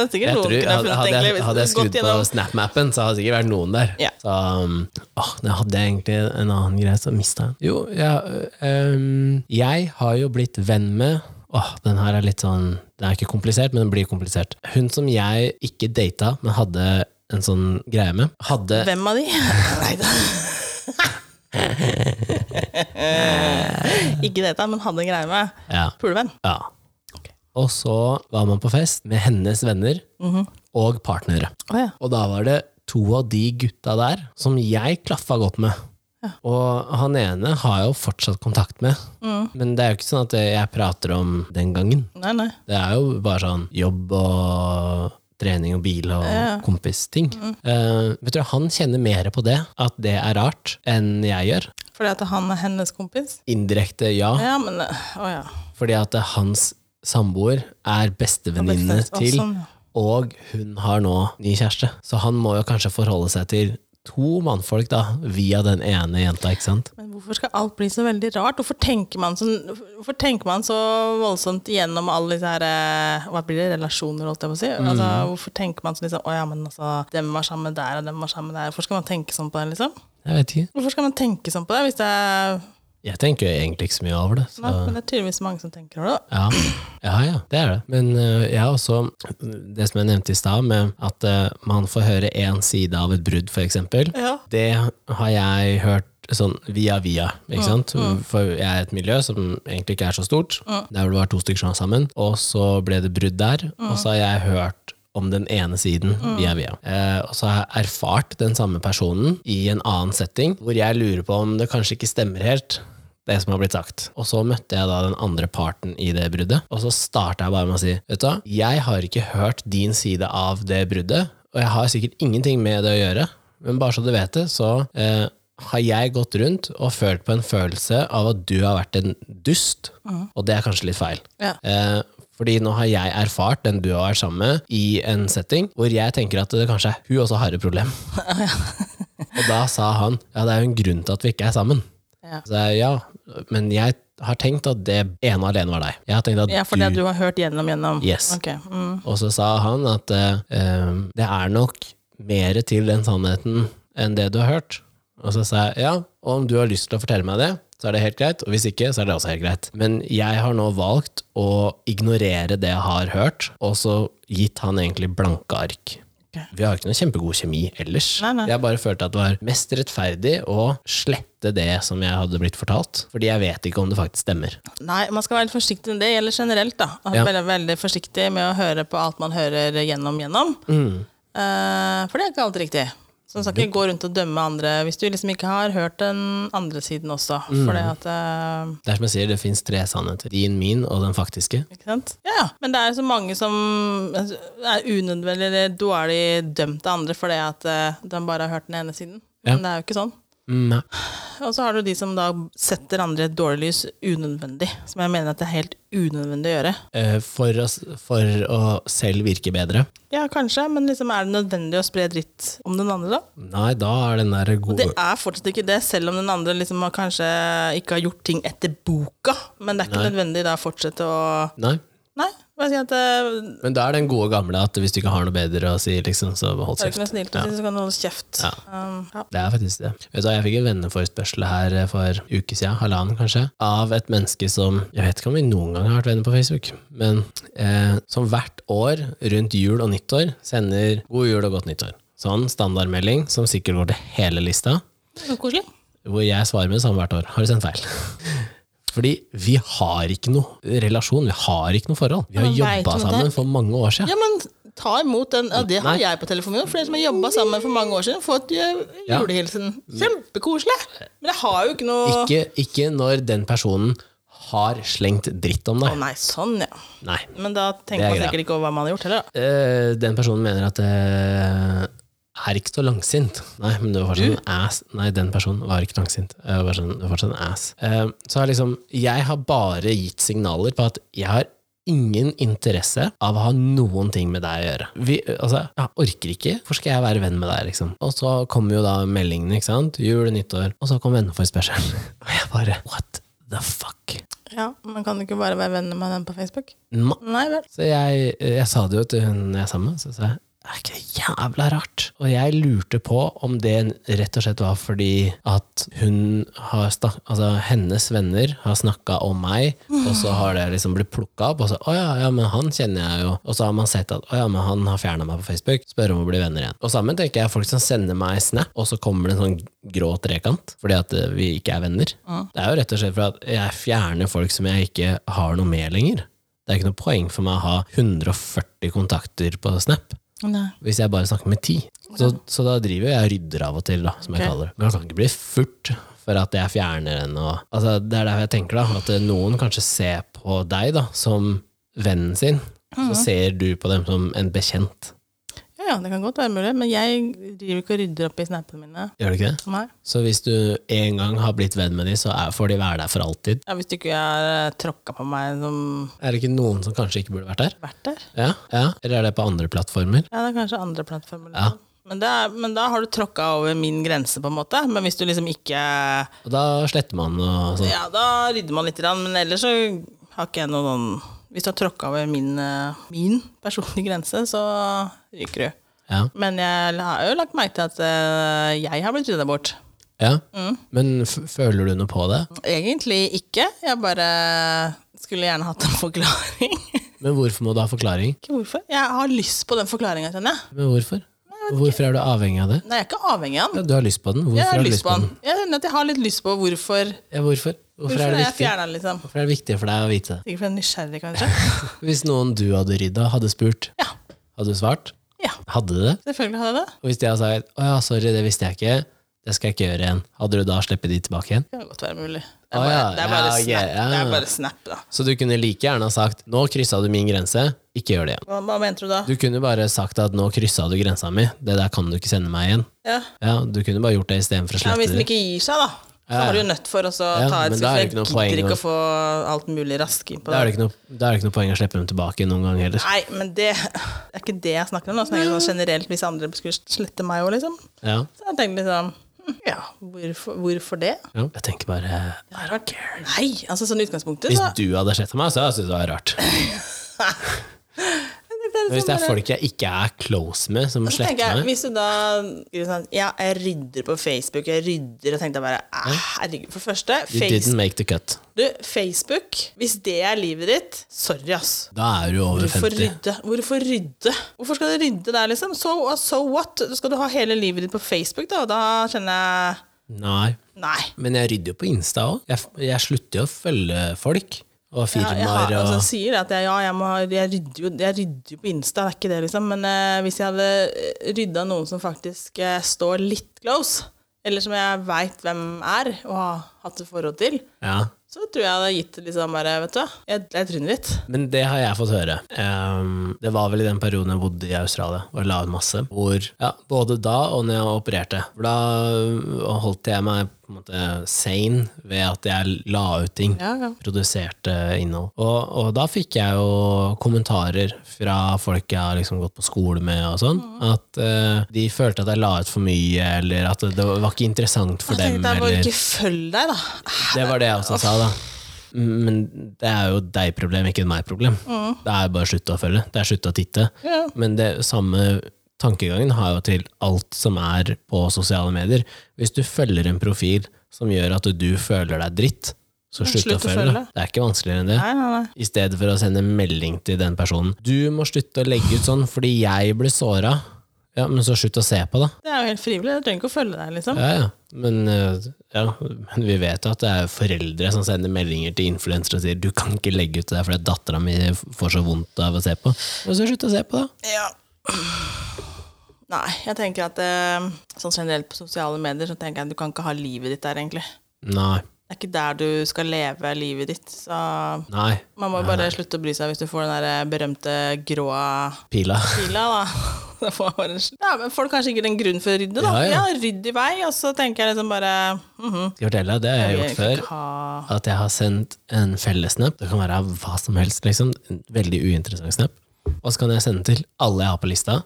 B: er sikkert
A: Jeg
B: noen
A: tror,
B: kunne
A: hadde,
B: funnet,
A: hadde,
B: egentlig,
A: jeg,
B: hvis
A: hadde jeg
B: du gått
A: skrudd på
B: gjennom-
A: Snap-mappen, så hadde det sikkert vært noen der.
B: Ja.
A: Så, um, åh, nå hadde jeg egentlig en annen greie som mista jeg. Jo, jeg, øhm, jeg har jo blitt venn med Åh, den her er litt sånn Den er ikke komplisert, men den blir komplisert. Hun som jeg ikke data, men hadde en sånn greie med, hadde
B: Hvem [laughs] av de? Nei da. Ikke data, men hadde en greie med
A: ja,
B: pulevenn.
A: Ja. Og så var man på fest med hennes venner og partnere.
B: Å ja.
A: Og da var det to av de gutta der som jeg klaffa godt med. Og han ene har jeg jo fortsatt kontakt med. Men det er jo ikke sånn at jeg prater om den gangen.
B: Nei, nei.
A: Det er jo bare sånn jobb og trening og bil og kompisting. Eh, vet du, Han kjenner mer på det, at det er rart, enn jeg gjør.
B: Fordi at han er hennes kompis?
A: Indirekte, ja.
B: Ja, men eh, Å ja.
A: Fordi at det- hans samboer er bestevenninne
B: Å,
A: til,
B: sånn, ja.
A: og hun har nå ny kjæreste. Så han må jo kanskje forholde seg til to mannfolk da, via den ene jenta, ikke sant?
B: Men hvorfor skal alt bli så veldig rart? Hvorfor tenker man så, hvorfor tenker man så voldsomt igjennom alle disse her eh, Hva blir det? Relasjoner, holdt jeg på å si. Altså, hvorfor tenker man sånn liksom Å ja, men altså, dem var sammen der, og dem var sammen der. Hvorfor skal man tenke sånn på det, liksom?
A: Jeg vet ikke.
B: Hvorfor skal man tenke sånn på det, hvis det er
A: Jeg tenker jo egentlig ikke så mye over det. Så.
B: Nei, men det er tydeligvis mange som tenker over det.
A: Ja. ja, ja, det er det. Men øh, jeg har også det som jeg nevnte i stad, med at øh, man får høre én side av et brudd, f.eks.
B: Ja.
A: Det har jeg hørt sånn via via, ikke sant? For jeg er i et miljø som egentlig ikke er så stort. Der hvor det var to stykker som var sammen, og så ble det brudd der. Og så har jeg hørt om den ene siden via via. Eh, og så har jeg erfart den samme personen i en annen setting, hvor jeg lurer på om det kanskje ikke stemmer helt det som har blitt sagt. Og så møtte jeg da den andre parten i det bruddet, og så starta jeg bare med å si Vet du hva, jeg har ikke hørt din side av det bruddet, og jeg har sikkert ingenting med det å gjøre, men bare så du vet det, så eh, har jeg gått rundt og følt på en følelse av at du har vært en dust, og det er kanskje litt feil.
B: Mm. Ja.
A: Eh, fordi nå har jeg erfart den du har vært sammen med, i en setting hvor jeg tenker at det kanskje er hun også har et
B: [laughs]
A: problem. og da sa han ja, det er jo en grunn til at vi ikke er sammen.
B: Ja.
A: Så jeg, ja, men jeg har tenkt at det ene og alene var deg. Jeg har tenkt at
B: Ja, for det du har hørt gjennom gjennom.
A: Yes.
B: Ok, mm.
A: Og så sa han at eh, eh, det er nok mer til den sannheten enn det du har hørt. Og så sa jeg ja, og om du har lyst til å fortelle meg det, så er det helt greit. Og hvis ikke, så er det også helt greit. Men jeg har nå valgt å ignorere det jeg har hørt, og så gitt han egentlig blanke ark.
B: Ok.
A: Vi har ikke noe kjempegod kjemi ellers.
B: Nei, nei.
A: Jeg bare følte at det var mest rettferdig å slette det som jeg hadde blitt fortalt. Fordi jeg vet ikke om det faktisk stemmer.
B: Nei, man skal være litt forsiktig med det. Det gjelder generelt, da. At
A: Ja.
B: Veldig, veldig
A: Mm.
B: forsiktig med å høre på alt man hører gjennom gjennom. Eh, for det er ikke alltid riktig. Så man skal ikke gå rundt og dømme andre hvis du liksom ikke har hørt den andre siden også.
A: Mm.
B: For det at eh,
A: Det er som jeg sier, det fins tre sannheter. Din, min og den faktiske.
B: Ikke sant? Ja, ja. Men det er så mange som altså, er unødvendig eller dårlig dømt av andre fordi at eh, de bare har hørt den ene siden.
A: Ja.
B: Men det er jo ikke sånn.
A: Mm, ja.
B: Og så har du de som da setter andre i et dårlig lys unødvendig, som jeg mener at det er helt unødvendig å gjøre.
A: Eh, for, å, s- for å selv virke bedre.
B: Ja, kanskje, men liksom er det nødvendig å spre dritt om den andre, da?
A: Nei, da er den der
B: Det
A: gode
B: er fortsatt ikke det, selv om den andre liksom har kanskje ikke har gjort ting etter boka. Men det er ikke
A: Nei.
B: nødvendig da å fortsette å
A: Nei.
B: Nei, bare si at eh,
A: Men da er den gode gamle at hvis du ikke har noe bedre å si, liksom, så hold
B: er du ikke noe
A: kjeft.
B: snill til, så kan du holde kjeft. Um, ja.
A: Det er faktisk det. Vet du hva, Jeg fikk en venneforespørsel her eh, for uke siden, halvannen kanskje, av et menneske som Jeg vet ikke om vi noen gang har vært venner på Facebook, men eh, som hvert år rundt jul og nyttår sender god jul og godt nyttår. Sånn standardmelding som sikkert går til hele lista,
B: Så koselig.
A: hvor jeg svarer med det samme hvert år. Har du sendt feil? [laughs] Fordi vi har ikke noe relasjon, vi har ikke noe forhold. Vi har
B: Men vet
A: jobba
B: du hva det er?
A: sammen for mange år siden.
B: Ja, men ta imot den. Ja, det har
A: Nei.
B: jeg på telefonen min. Flere som har jobba sammen for mange år siden, fått eh,
A: Ja.
B: julehilsen. Kjempekoselig! Men jeg har jo ikke noe
A: Ikke, ikke når den personen har slengt dritt om
B: Å
A: deg.
B: nei, sånn, ja.
A: Nei.
B: Men da
A: Det er
B: tenker man
A: greia.
B: sikkert ikke over hva man har gjort heller. da.
A: Eh, den personen mener at det er ikke så langsint. Nei, men det var fortsatt en ass. Nei, den personen var ikke langsint. Det var, sånn, det var fortsatt en ass. Eh, så har liksom, jeg har bare gitt signaler på at jeg har ingen interesse av å ha noen ting med deg å gjøre. Vi, altså, jeg orker ikke. Hvorfor skal jeg være venn med deg, liksom? Og så kommer jo da meldingene, ikke sant? Jul, nyttår. Og så kom venneforespørselen. [laughs] Og jeg bare, what the fuck?
B: Ja, Man kan ikke bare være venner med den på Facebook.
A: Ma
B: Nei vel.
A: så jeg, eh, jeg sa det jo til hun jeg er sammen med, så sa jeg er ikke det jævla rart? Og jeg lurte på om det rett og slett var fordi at hun har snak altså hennes venner har snakka om meg, og så har det liksom blitt plukka opp, og så å ja, ja, men han kjenner jeg jo, og så har man sett at å ja, men han har fjerna meg på Facebook, spør om å bli venner igjen. Og sammen tenker jeg folk som sender meg snap, og så kommer det en sånn grå trekant fordi at eh, vi ikke er venner. Det er jo rett og slett for at jeg fjerner folk som jeg ikke har noe med lenger. Det er ikke noe poeng for meg å ha 140 kontakter på Snap
B: Nei.
A: hvis jeg bare snakker med ti. Så, så da driver jeg og rydder av og til, da, som jeg
B: Ok.
A: kaller det. Men jeg kan ikke bli furt for at jeg fjerner en og altså, Det er derfor jeg tenker da, at noen kanskje ser på deg da, som vennen sin, så ser du på dem som en bekjent.
B: Ja, ja, det kan godt være mulig, men jeg driver ikke og rydder opp i snappene mine.
A: Gjør du ikke det?
B: Nei.
A: Så hvis du en gang har blitt venn med dem, så er, får de være der for alltid.
B: Ja, hvis ikke jeg har tråkka på meg som
A: Er det ikke noen som kanskje ikke burde vært der?
B: vært der.
A: Ja, ja. Eller er det på andre plattformer?
B: Ja, det er kanskje andre plattformer.
A: Ja.
B: Men, det er, men da har du tråkka over min grense, på en måte. Men hvis du liksom ikke
A: Og da sletter man og sånn.
B: Ja, da rydder man litt, grann, men ellers så har ikke jeg noe sånn Hvis du har tråkka over min, eh, min personlige grense, så ryker du.
A: Ja.
B: Men jeg har jo lagt merke til at eh, jeg har blitt rydda bort.
A: Ja,
B: Mm.
A: men f føler du noe på det?
B: Egentlig ikke. Jeg bare skulle gjerne hatt en forklaring. [laughs]
A: Men hvorfor må du ha forklaring?
B: ikke hvorfor. Jeg har lyst på den forklaringa, kjenner jeg.
A: Men hvorfor? Hvorfor er du avhengig av det?
B: Nei, jeg er ikke avhengig av den.
A: Ja, du har lyst på den. Hvorfor
B: Jeg har
A: du
B: lyst på den. Jeg kjenner at jeg har litt lyst på hvorfor.
A: Ja, hvorfor? Hvorfor,
B: Hvorfor
A: er
B: har
A: det
B: jeg
A: viktig?
B: fjerna den, liksom.
A: hvorfor er det viktig for deg å vite det?
B: Sikkert fordi jeg er nysgjerrig, kanskje.
A: Hvis noen du hadde rydda, hadde spurt,
B: Ja.
A: hadde du svart?
B: ja.
A: Hadde du det?
B: Selvfølgelig har jeg det.
A: Og hvis de hadde sagt 'Å ja, sorry, det visste jeg ikke', det skal jeg ikke gjøre igjen, hadde du da sluppet de tilbake igjen?
B: Det kan godt være mulig. Det
A: Å,
B: er bare,
A: ja.
B: det er bare
A: Ja, ok,
B: snap,
A: ja.
B: det er bare snap da.
A: Så du kunne like gjerne ha sagt 'Nå kryssa du min grense, ikke gjør det igjen'.
B: Hva, hva mente du da?
A: Du kunne bare sagt at 'Nå kryssa du grensa mi, det der kan du ikke sende meg igjen'.
B: Ja.
A: Ja, Du kunne bare gjort det istedenfor å
B: Ja,
A: slette
B: hvis den
A: det.
B: ikke gir seg, da, så
A: Ja.
B: har du jo nødt for å så
A: Ja,
B: ta et
A: men da er det
B: skritt.
A: ikke noe
B: Jeg
A: poeng
B: gidder
A: å-
B: ikke å få alt mulig rask inn på
A: Da er,
B: det.
A: det ikke noe, da er det ikke noe poeng å slippe dem tilbake noen gang heller.
B: Nei, men det er ikke det jeg snakker om. Da snakker jeg sånn generelt hvis andre skulle slette meg òg, liksom.
A: Ja.
B: Så jeg tenkte liksom hm, ja, hvorfor, hvorfor det?
A: Ja. Jeg tenker bare eh,
B: I don't care. Nei, altså sånn i utgangspunktet,
A: Hvis
B: så
A: du hadde sett meg, så hadde jeg syntes det var
B: [laughs]
A: rart. Men hvis det er folk jeg ikke er close med, som
B: Så tenker
A: sletter
B: jeg,
A: meg
B: hvis du da skriver sånn, Ja, jeg rydder på Facebook, jeg rydder og tenkte jeg bare «Ah, Herregud, for det første
A: You
B: face,
A: didn't make the cut.
B: du, Facebook, hvis det er livet ditt, sorry, ass.
A: Da er du over
B: Hvorfor
A: 50.
B: rydde? Hvorfor rydde? Hvorfor skal du rydde der, liksom? So, so what? Skal du ha hele livet ditt på Facebook, da? Og da kjenner jeg
A: Nei.
B: Nei.
A: Men jeg rydder jo på Insta òg. Jeg, jeg slutter jo å følge folk. og firmaer
B: Ja, jeg har, altså,
A: og
B: sier at jeg, ja, jeg, må, ha- jeg, rydder jo, jeg rydder jo på Insta, det er ikke det, liksom. Men eh, hvis jeg hadde rydda noen som faktisk eh, står litt close, eller som jeg veit hvem er, og har hatt et forhold til,
A: ja.
B: så tror jeg jeg hadde gitt det liksom bare, vet du hva, jeg, jeg tryner litt.
A: Men det har jeg fått høre. Ehm, det var vel i den perioden jeg bodde i Australia og la ut masse. Hvor, ja, både da og når jeg opererte. For da øh, holdt jeg meg på en måte sane ved at jeg la ut ting.
B: Ja, ja.
A: Produserte innhold. Og, og da fikk jeg jo kommentarer fra folk jeg har liksom gått på skole med og sånn,
B: Mm.
A: at eh, de følte at jeg la ut for mye, eller at det var ikke interessant for
B: Jeg
A: dem.
B: tenkte jeg bare
A: eller-
B: ikke følg deg, da.
A: det var det jeg også sa, da. Men det er jo deg-problem, ikke meg-problem. Det er bare å slutte å følge. Det er slutte å titte.
B: Ja.
A: Men det samme tankegangen har jo til alt som er på sosiale medier. Hvis du følger en profil som gjør at du føler deg dritt, så Mm, slutt, å, følge. Det er ikke vanskeligere enn det.
B: Nei, nei, nei.
A: I stedet for å sende en melding til den personen. Du må slutte å legge ut sånn fordi jeg blir såra. Ja, men så slutt å se på, da.
B: Det er jo helt frivillig, jeg trenger ikke å følge deg, liksom.
A: Ja, ja. Men, eh, ja. men vi vet jo at det er foreldre som sender meldinger til influensere og sier du kan ikke legge ut det der fordi dattera mi får så vondt av å se på. Og så slutt å se på, da.
B: Ja. Nei, jeg tenker at eh, sånn generelt på sosiale medier så tenker jeg at du kan ikke ha livet ditt der, egentlig.
A: Nei.
B: Det er ikke der du skal leve livet ditt. Så
A: Nei.
B: man må jo bare slutte å bry seg hvis du får den der berømte grå
A: Pila. [laughs]
B: pila, da. [laughs] Da får man bare sl- Ja, men folk har sikkert en grunn for å rydde, da.
A: Ja,
B: Ja,
A: ja.
B: rydd i vei, og så tenker jeg liksom bare mhm,
A: Skal jeg fortelle deg, det har jeg
B: jeg
A: gjort
B: kan
A: før.
B: ikke ha-
A: At jeg har sendt en fellessnap. Det kan være hva som helst, liksom. En veldig uinteressant snap. Og så kan jeg sende til alle jeg har på lista.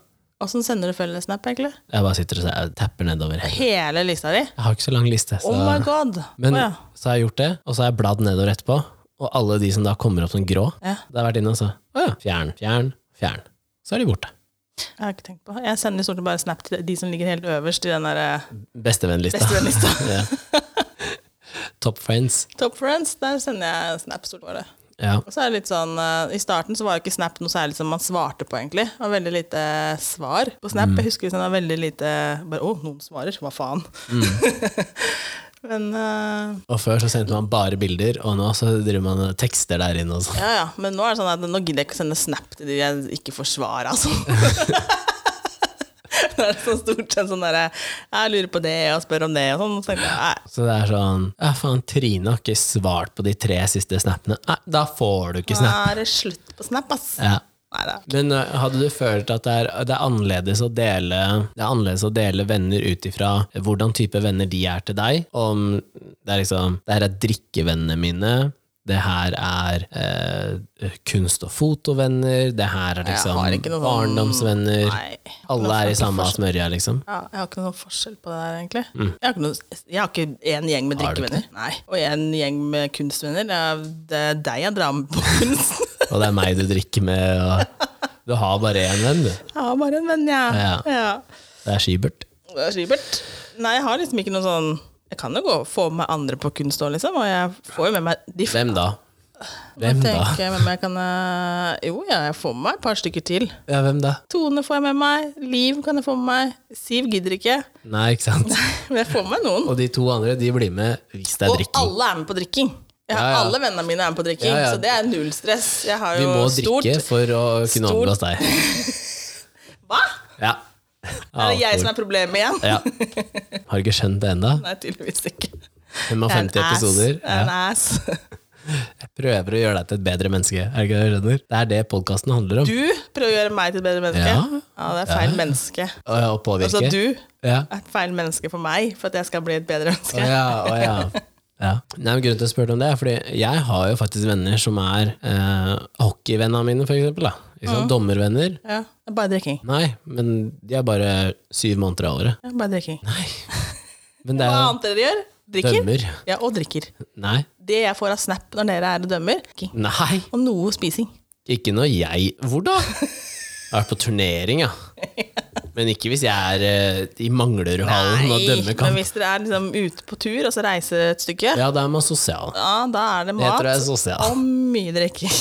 B: Åssen sender du fellesnap, egentlig?
A: Jeg bare sitter og ser- tapper nedover. Jeg
B: Hele lista di?
A: har ikke så lang liste. Så.
B: Oh my god!
A: Men
B: Å, ja.
A: så har jeg gjort det, og så har jeg bladd nedover etterpå. Og alle de som da kommer opp som grå,
B: Ja.
A: det har vært inne og så Å ja, fjern, fjern, fjern. Så er de borte.
B: Jeg har ikke tenkt på det. Jeg sender stort sett bare snap til de som ligger helt øverst i den der eh,
A: Bestevennlista.
B: Bestevennlista.
A: [laughs] ja. Top friends.
B: Top Friends. Der sender jeg snap stort sett.
A: Ja.
B: Og så er det litt sånn, eh, I starten så var jo ikke Snap noe særlig som man svarte på, egentlig. Det var veldig lite svar på Snap.
A: Mm.
B: Jeg husker liksom det var veldig lite bare, Å, noen svarer. Hva faen?
A: Mm.
B: [laughs] Men eh,
A: Og før så sendte man bare bilder, og nå så driver man og tekster der inne og sånn.
B: ja, ja. Men nå er det sånn at nå gidder jeg ikke å sende Snap til de jeg ikke får svar,
A: [laughs]
B: altså. Nå er det sånn stort sett sånn derre Jeg lurer på det, og spør om det, og sånn. Så tenker jeg, nei.
A: Så det er sånn Ja, faen, Trine har ikke svart på de tre siste snappene. Nei, da får du ikke
B: Nå
A: snap.
B: er det slutt på Snap, ass.
A: Ja.
B: Nei da.
A: Men ø, hadde du følt at det er, det er annerledes å dele Det er annerledes å dele venner ut ifra hvordan type venner de er til deg? Om det er liksom Det her er drikkevennene mine. Det her er eh, kunst- og fotovenner. Det her er
B: Jeg
A: liksom
B: har ikke noe sånn-
A: barndomsvenner.
B: Nei.
A: Alle er i samme smørja, liksom.
B: Ja, jeg har ikke noen forskjell på det der, egentlig. Jeg, har ikke noe, jeg har ikke én gjeng med
A: Mm. Har du ikke
B: drikkevenner. Nei, Og én gjeng med kunstvenner. Det er, det er deg jeg drar med på [laughs] kunst.
A: Og det er meg du drikker med, og Du har bare én venn, du.
B: jeg har bare en venn, jeg.
A: Ja. Det er Skibert.
B: Det er Skibert. Nei, jeg har liksom ikke noe sånn Jeg kan jo gå og få med andre på kunst òg, liksom. Og jeg får jo med meg de
A: Hvem da? Hvem da?
B: tenker jeg, hvem jeg kan, eh, Jo, ja, jeg får med meg et par stykker til.
A: Ja, hvem da?
B: Tone får jeg med meg. Liv kan jeg få med meg. Siv gidder ikke. [laughs]
A: Nei, ikke sant?
B: Men jeg får med meg noen.
A: Og de to andre de blir med hvis det er
B: Og
A: drikking.
B: alle er med på drikking. Jeg har
A: Ja, ja.
B: Alle vennene mine er med på drikking,
A: Ja, ja.
B: så det er null stress. Jeg har
A: Vi
B: jo
A: må
B: stort
A: drikke for å kunne
B: stort-
A: omgås deg.
B: Hva?
A: Ja.
B: Er det jeg som er problemet igjen?
A: ja. Har du ikke skjønt det ennå?
B: [laughs] Nei, tydeligvis ikke. Jeg er en
A: 150
B: ass.
A: episoder.
B: Jeg er En ass. [laughs]
A: Jeg prøver å gjøre deg til et bedre menneske. Er det ikke det du skjønner? Det er det podkasten handler om.
B: Du prøver å gjøre meg til et bedre menneske.
A: Ja.
B: det er feil menneske.
A: Å ja, Å påvirke.
B: Altså, du
A: Ja.
B: er et feil menneske for meg, for at jeg skal bli et bedre
A: Å
B: menneske.
A: ja, å ja. Ja. Nei, men grunnen til å spørre om det er fordi jeg har jo faktisk venner som er eh, hockeyvennene mine, for eksempel. Da. Ikke sant? Dommervenner.
B: Ja, det er bare drikking.
A: Nei, men de er bare syv måneder av året.
B: Det er Bare drikking. [laughs]
A: Nei. Men det
B: Hva
A: er
B: annet dere gjør?
A: jo
B: Drikker.
A: dømmer.
B: Ja, og drikker.
A: Nei.
B: Det jeg får av snap når dere er og dømmer, drikking.
A: Nei.
B: og noe spising.
A: Ikke når jeg Hvor da? Jeg har vært på turnering, ja. Men ikke hvis jeg er eh, i Manglerudhallen og
B: Nei,
A: dømmer kamp.
B: Men hvis dere er liksom ute på tur og så reiser et stykke, ja.
A: Ja, da er man sosial.
B: da er det
A: Det
B: mat
A: tror jeg er sosial.
B: og mye [laughs] drikking.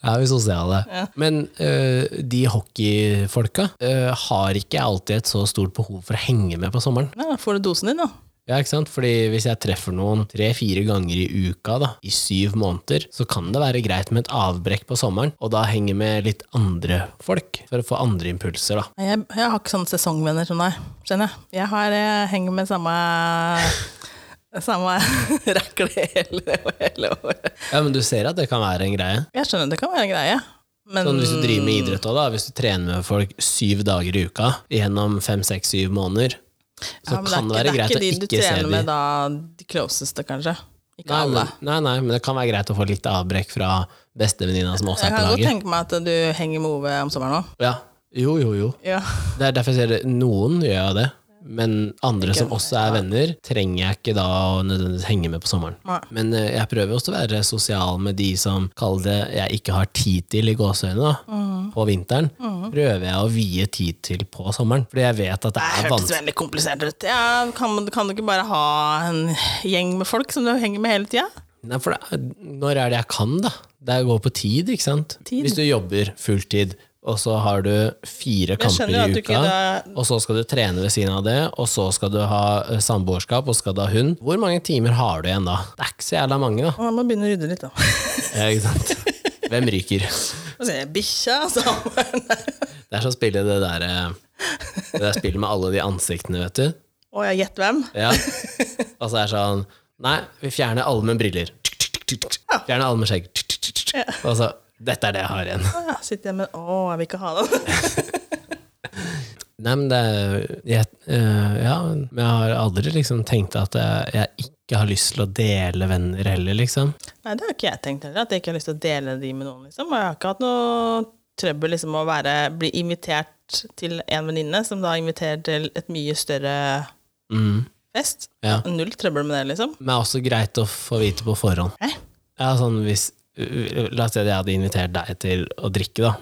A: Da er vi sosiale. Men eh, de hockeyfolka eh, har ikke alltid et så stort behov for å henge med på sommeren.
B: Ja, da får du dosen din, da.
A: Ja, ikke sant? Fordi hvis jeg treffer noen tre-fire ganger i uka da, i syv måneder, så kan det være greit med et avbrekk på sommeren, og da henge med litt andre folk, for å få andre impulser, da.
B: Nei, Jeg, jeg har ikke sånne sesongvenner som deg, skjønner jeg. Jeg, har, jeg henger med samme [laughs] Samme [laughs] rekle hele, hele året.
A: Ja, men du ser at det kan være en greie.
B: Jeg skjønner det kan være en greie, men
A: Sånn, hvis du driver med idrett også, da, hvis du trener med folk syv dager i uka gjennom fem, seks, syv måneder, så
B: Ja, men
A: kan det,
B: er
A: være greit
B: det
A: å
B: er ikke de du
A: ikke se
B: trener
A: dem.
B: med da, de closeste, kanskje. Ikke
A: Nei,
B: alle.
A: men, nei, nei, men det kan være greit å få litt avbrekk fra bestevenninna som også er
B: Jeg
A: på
B: kan godt
A: laget.
B: tenke meg at du henger med Ove om sommeren òg.
A: Ja. Jo, jo, jo.
B: Ja.
A: Det er derfor jeg sier det. Noen gjør jeg det, men andre som også er venner, trenger jeg ikke da å nødvendigvis henge med på sommeren.
B: Nei.
A: Men eh, jeg prøver også å være sosial med de som kaller det jeg ikke har tid til i gåseøynene. da.
B: Mm.
A: På vinteren prøver jeg å vie tid til på sommeren, fordi jeg vet at det
B: Det
A: er
B: hørtes
A: vanskelig.
B: veldig komplisert ut. Ja, kan, kan du ikke bare ha en gjeng med folk som du henger med hele tida?
A: Nei, for det, er- når er det jeg kan, da? Det går på tid, ikke sant?
B: Tid.
A: Hvis du jobber fulltid, og så har du fire kamper
B: skjønner at
A: i
B: du
A: uka,
B: ikke da-
A: og så skal du trene ved siden av det, og så skal du ha eh, samboerskap, og skal du ha hund Hvor mange timer har du igjen da? Det er ikke så jævla mange, da.
B: Og Jeg må begynne å rydde [laughs] litt, da.
A: Ja, ikke
B: [laughs]
A: sant? Hvem ryker?
B: Og så er jeg bikkja altså. sammen.
A: Det er som å spille det der, eh, det der spillet med alle de ansiktene, vet du.
B: Og jeg gjett hvem.
A: Ja. Og så er det sånn Nei, vi fjerner alle med briller. Fjerner alle med skjegg. Og så Dette er det jeg har igjen.
B: Å [laughs] ja, sitter jeg med Å, jeg vil ikke ha den. [laughs]
A: Nei, men det er- jeg, eh, Ja, men jeg har aldri liksom tenkt at jeg, jeg ikke har lyst til å dele venner heller, liksom.
B: Nei, det har ikke jeg tenkt heller. At jeg ikke har lyst til å dele de med noen, liksom. Og jeg har ikke hatt noe trøbbel liksom, med å være, bli invitert til en venninne, som da inviterer til et mye større
A: Mm.
B: fest.
A: Ja.
B: Null trøbbel med det, liksom.
A: Men det er også greit å få vite på forhånd.
B: Hæ?
A: Ja, sånn hvis uh, La oss si at jeg hadde invitert deg til å drikke, da.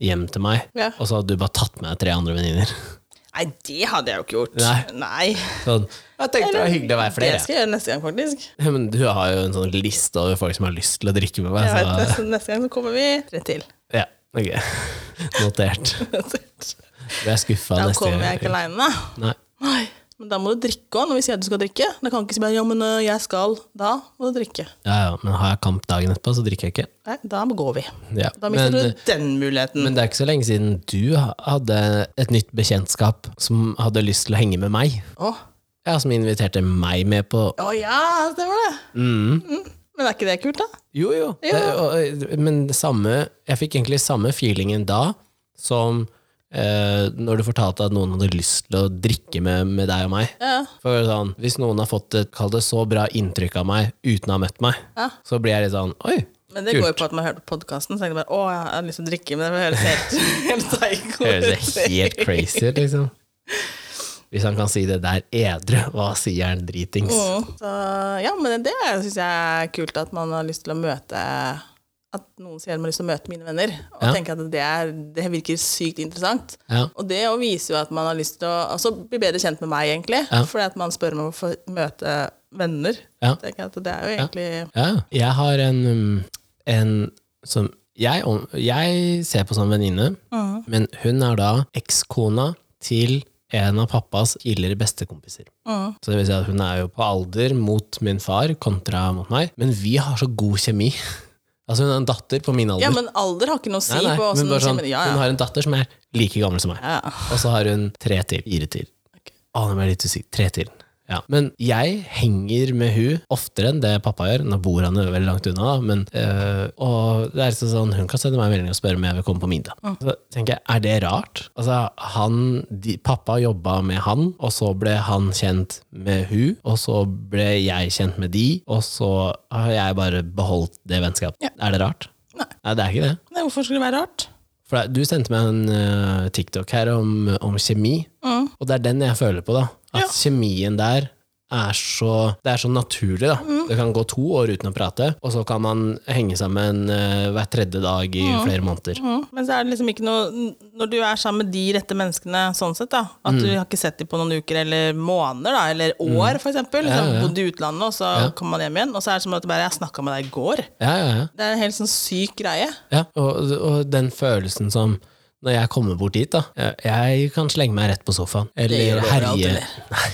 A: Hjem til meg.
B: Mm. Ja.
A: Og så hadde du bare tatt med deg tre andre venninner. [laughs]
B: Nei, det hadde jeg jo ikke gjort.
A: Nei.
B: Nei.
A: Sånn, jeg tenkte det var hyggelig å være
B: Det
A: flere.
B: skal jeg gjøre neste gang, faktisk.
A: Ja, Men du har jo en sånn liste over folk som har lyst til å drikke med meg.
B: Jeg vet,
A: Så,
B: neste, neste gang så kommer vi tre til.
A: ja, ok. [laughs] Notert. Ble jeg skuffa
B: Da
A: neste
B: kommer jeg ikke aleine.
A: Nei.
B: Nei, Men da må du drikke òg, når vi sier at du skal drikke. Da kan du ikke si bare, ja, men ø, jeg skal. Da må du drikke.
A: Ja, ja, men har jeg kamp dagen etterpå, så drikker jeg ikke.
B: Nei, da går vi.
A: Ja.
B: Da mister
A: Men, øh,
B: du den muligheten.
A: men det er ikke så lenge siden du ha- hadde et nytt bekjentskap som hadde lyst til å henge med meg.
B: Å
A: Ja, Som inviterte meg med på
B: Å ja, stemmer det. Mm. Men er ikke det kult, da?
A: Jo, jo. Det, og, men det samme Jeg fikk egentlig samme feelingen da som eh, når du fortalte at noen hadde lyst til å drikke med, med deg og meg.
B: Ja.
A: For sånn, Hvis noen har fått et kall det så bra inntrykk av meg uten å ha møtt meg,
B: Ja.
A: så blir jeg litt sånn Oi!
B: Men det går jo på at man hørte podkasten. Så tenkte jeg bare å, jeg har lyst til å drikke, men det høres helt, [laughs] helt psycho
A: Høres
B: ut.
A: det helt crazy ut, liksom? Hvis han kan si det der edru, hva sier han dritings?
B: Mm. Så, ja, men det syns jeg er kult at man har lyst til å møte At noen sier at man har lyst til å møte mine venner. Og
A: Ja.
B: tenker at det, er, det virker sykt interessant.
A: Ja.
B: Og det jo viser jo at man har lyst til å altså, bli bedre kjent med meg, egentlig.
A: Ja.
B: Fordi at man spør om å få møte venner.
A: Ja.
B: Tenker jeg at det er jo egentlig
A: ja. Jeg har en, um, en som jeg, om- jeg ser på som venninne,
B: Mm.
A: men hun er da ekskona til en av pappas tidligere bestekompiser.
B: Mm.
A: Så det vil si at hun er jo på alder mot min far kontra mot meg, men vi har så god kjemi. Altså hun er en datter på min alder.
B: Ja, men alder har ikke noe å si
A: Nei, nei,
B: på
A: men
B: åssen
A: bare sånn,
B: kjemi- Ja,
A: Hun
B: ja.
A: har en datter som er like gammel som meg.
B: ja.
A: Og så har hun tre til. Fire til.
B: Ok.
A: Å, nå ble jeg litt usikker. Tre til. Ja. Men jeg henger med hun oftere enn det pappa gjør. Nå bor han jo veldig langt unna, da, men øh, Og det er liksom sånn, hun kan sende meg en melding og spørre om jeg vil komme på middag.
B: Mm.
A: Så tenker jeg, er det rart? Altså, han, de, pappa jobba med han, og så ble han kjent med hun, og så ble jeg kjent med de, og så har jeg bare beholdt det vennskapet.
B: Ja.
A: Er det rart?
B: Nei.
A: Nei, det er ikke det.
B: Nei, hvorfor skulle det være rart?
A: For det- du sendte meg en eh, TikTok her om, om kjemi, og det er den jeg føler på, da. At
B: Mm. Ja.
A: kjemien der er så, det er så naturlig, da.
B: Mm.
A: Det kan gå to år uten å prate, og så kan man henge sammen eh, hver tredje dag i flere måneder.
B: Mm. Men så er det liksom ikke noe n- Når du er sammen med de rette menneskene, sånn sett, da, at
A: Mm.
B: du har ikke sett dem på noen uker eller måneder, da, eller år, for eksempel.
A: Ja,
B: Liksom,
A: ja, ja.
B: Bodd i utlandet, og så kommer man hjem igjen, og så er det som at du bare 'Jeg snakka med deg i går'.
A: Ja, ja, ja.
B: Det er en helt sånn syk greie.
A: ja. Og, og den følelsen som når jeg kommer bort dit, da. Jeg, jeg kan slenge meg rett på sofaen.
B: gjør
A: Eller
B: du overalt,
A: herje.
B: eller?
A: Nei.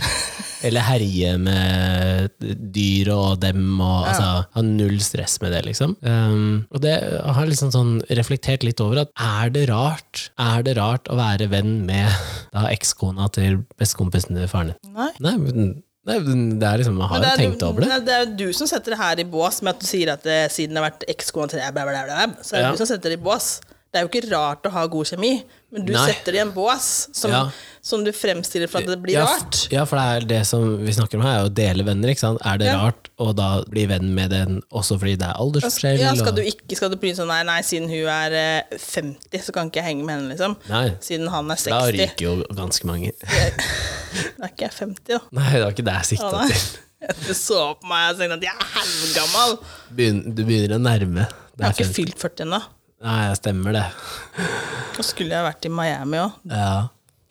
A: Eller herje med dyr og dem og altså, ha null stress med det, liksom. Um, og det jeg har liksom sånn reflektert litt over at er det rart Er det rart å være venn med da ekskona til bestekompisen til faren din?
B: Nei.
A: Nei, men, nei, men det er liksom Man har jo tenkt over det.
B: Nei, det er jo du som setter det her i bås med at du sier at det, siden det har vært ekskona til deg, bla, bla, bla, bla, så er det
A: Ja.
B: du som setter det i bås. Det er jo ikke rart å ha god kjemi, men du
A: Nei.
B: setter det i en bås som,
A: Ja.
B: som du fremstiller for at det blir
A: ja, f-
B: rart.
A: Ja, for det er det som vi snakker om her, er å dele venner. ikke sant? Er det
B: Ja.
A: rart å da bli venn med den også fordi det er aldersforskjell?
B: Ja, skal
A: og-
B: du ikke skal du bli sånn Nei, nei, siden hun er eh, 50, så kan ikke jeg henge med henne, liksom.
A: Nei.
B: Siden han er
A: Da
B: 60.
A: ryker jo ganske mange. [laughs]
B: Da er ikke jeg 50, da.
A: Nei, det var ikke det jeg sikta
B: Ja, nei.
A: til.
B: Du så på meg og tenkte at jeg er halvgammal.
A: Begyn- du begynner å nærme. Det
B: Jeg
A: er
B: har ikke
A: fint.
B: fylt 40 ennå.
A: Nei, det stemmer det.
B: Og skulle jeg vært i Miami òg.
A: Ja,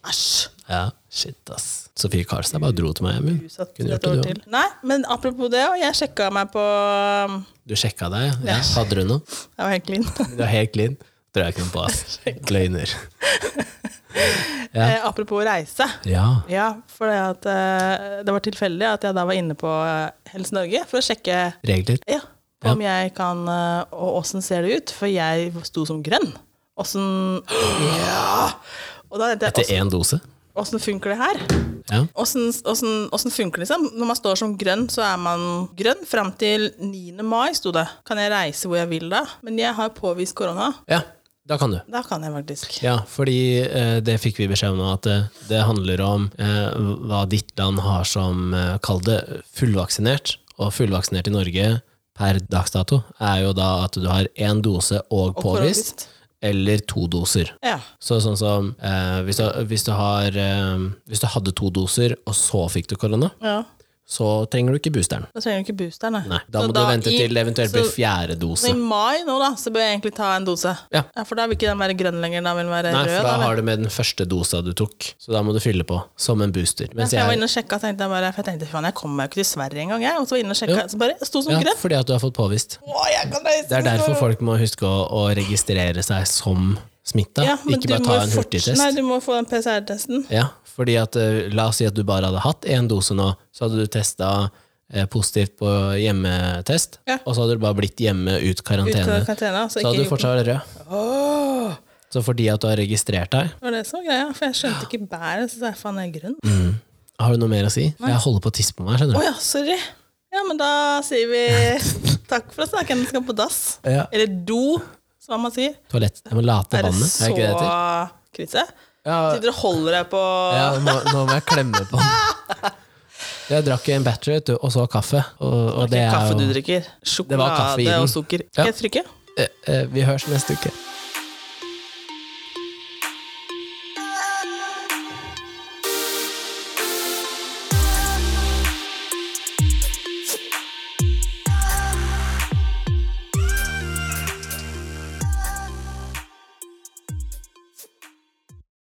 B: Æsj.
A: ja. Shit, ass. Sofie Karlstad bare dro til Miami.
B: Utsatt
A: Kunne
B: et
A: gjort
B: år
A: det,
B: til.
A: du òg.
B: Nei, men apropos det, og jeg sjekka meg på um,
A: Du sjekka deg, ja? ja? Hadde du noe?
B: Jeg var helt
A: [laughs]
B: clean.
A: Du er helt clean. Tror jeg ikke noe på,
B: [laughs]
A: ass. Løgner.
B: Eh, apropos reise.
A: Ja.
B: Ja, for det, at, eh, det var tilfeldig at jeg da var inne på eh, Helse Norge for å sjekke
A: Regler.
B: ja, om jeg kan eh, Og åssen ser det ut? For jeg sto som grønn. Åssen Ja! Og da tenkte
A: Til
B: jeg
A: én dose.
B: åssen funker det her?
A: Ja.
B: Åssen åssen- åssen funker det liksom? Når man står som grønn, så er man grønn fram til 9. mai, sto det. Kan jeg reise hvor jeg vil da? Men jeg har påvist korona.
A: ja. Da kan du.
B: Da kan jeg faktisk.
A: Ja, fordi eh, det fikk vi beskjed om nå, at eh, det handler om eh, hva ditt land har som, eh, kall det, fullvaksinert. Og fullvaksinert i Norge per dags dato er jo da at du har én dose og, påvist,
B: påvist.
A: eller to doser.
B: Ja.
A: Så sånn som eh, hvis, du, hvis, du har, eh, hvis du hadde to doser, og så fikk du korona,
B: ja.
A: så trenger du ikke boosteren.
B: Da trenger du ikke booster, nei.
A: Nei, da
B: Så
A: må du vente
B: i-
A: til det eventuelt blir
B: så-
A: fjerde
B: så
A: dose.
B: i mai nå, da, så bør jeg egentlig ta en dose.
A: Ja.
B: For da vil ikke den være grønn lenger, da vil den være
A: Nei,
B: rød.
A: for da
B: da,
A: har du med den første dosa du tok, så da må du fylle på, som en booster.
B: Ja,
A: Mens
B: for jeg var
A: jeg
B: inne og sjekka, og tenkte jeg bare, for jeg tenkte faen, jeg kommer meg jo ikke til Sverige engang, jeg. Og så var jeg inne og sjekka,
A: Ja.
B: så bare jeg sto som
A: Ja,
B: grønn.
A: fordi at du har fått påvist.
B: Å, jeg kan reise!
A: Det er derfor folk må huske å, å registrere seg som smitta,
B: ja, men
A: ikke
B: du
A: bare
B: må
A: ta
B: jo
A: en
B: fort- Nei,
A: hurtigtest.
B: du må få den PCR-testen.
A: Ja, fordi at, eh, la oss si at du bare hadde hatt én dose nå, så hadde du testa eh, positivt på hjemmetest,
B: Ja.
A: og så hadde du bare blitt hjemme ut
B: Ut
A: karantene.
B: av karantene. Så,
A: Så hadde du
B: ikke,
A: fortsatt vært rød.
B: Åh,
A: Så fordi at du har registrert deg
B: det var det som var greia, for jeg skjønte ikke bæret, så sa jeg faen, jeg er grønn. Å
A: Mm. Har du noe mer å si? Jeg holder på å tisse på meg, skjønner du.
B: ja, sorry. Ja, men da sier
A: [laughs]
B: vi takk for oss, da. Hvem skal på dass?
A: Ja.
B: Eller do, som man sier.
A: Toalett. Jeg må late
B: Er det
A: vannet. Er
B: så
A: ikke det det heter?
B: krise?
A: Ja,
B: Sitter og holder deg på
A: Ja, nå, nå må jeg klemme på den. Jeg drakk en battery vet du, og så kaffe. Og, og det er
B: kaffe du
A: jo
B: drikker.
A: var kaffe i
B: Sjokolade
A: den.
B: og sukker.
A: Ja.
B: Skal jeg trykke?
A: Eh, eh, Vi høres neste uke.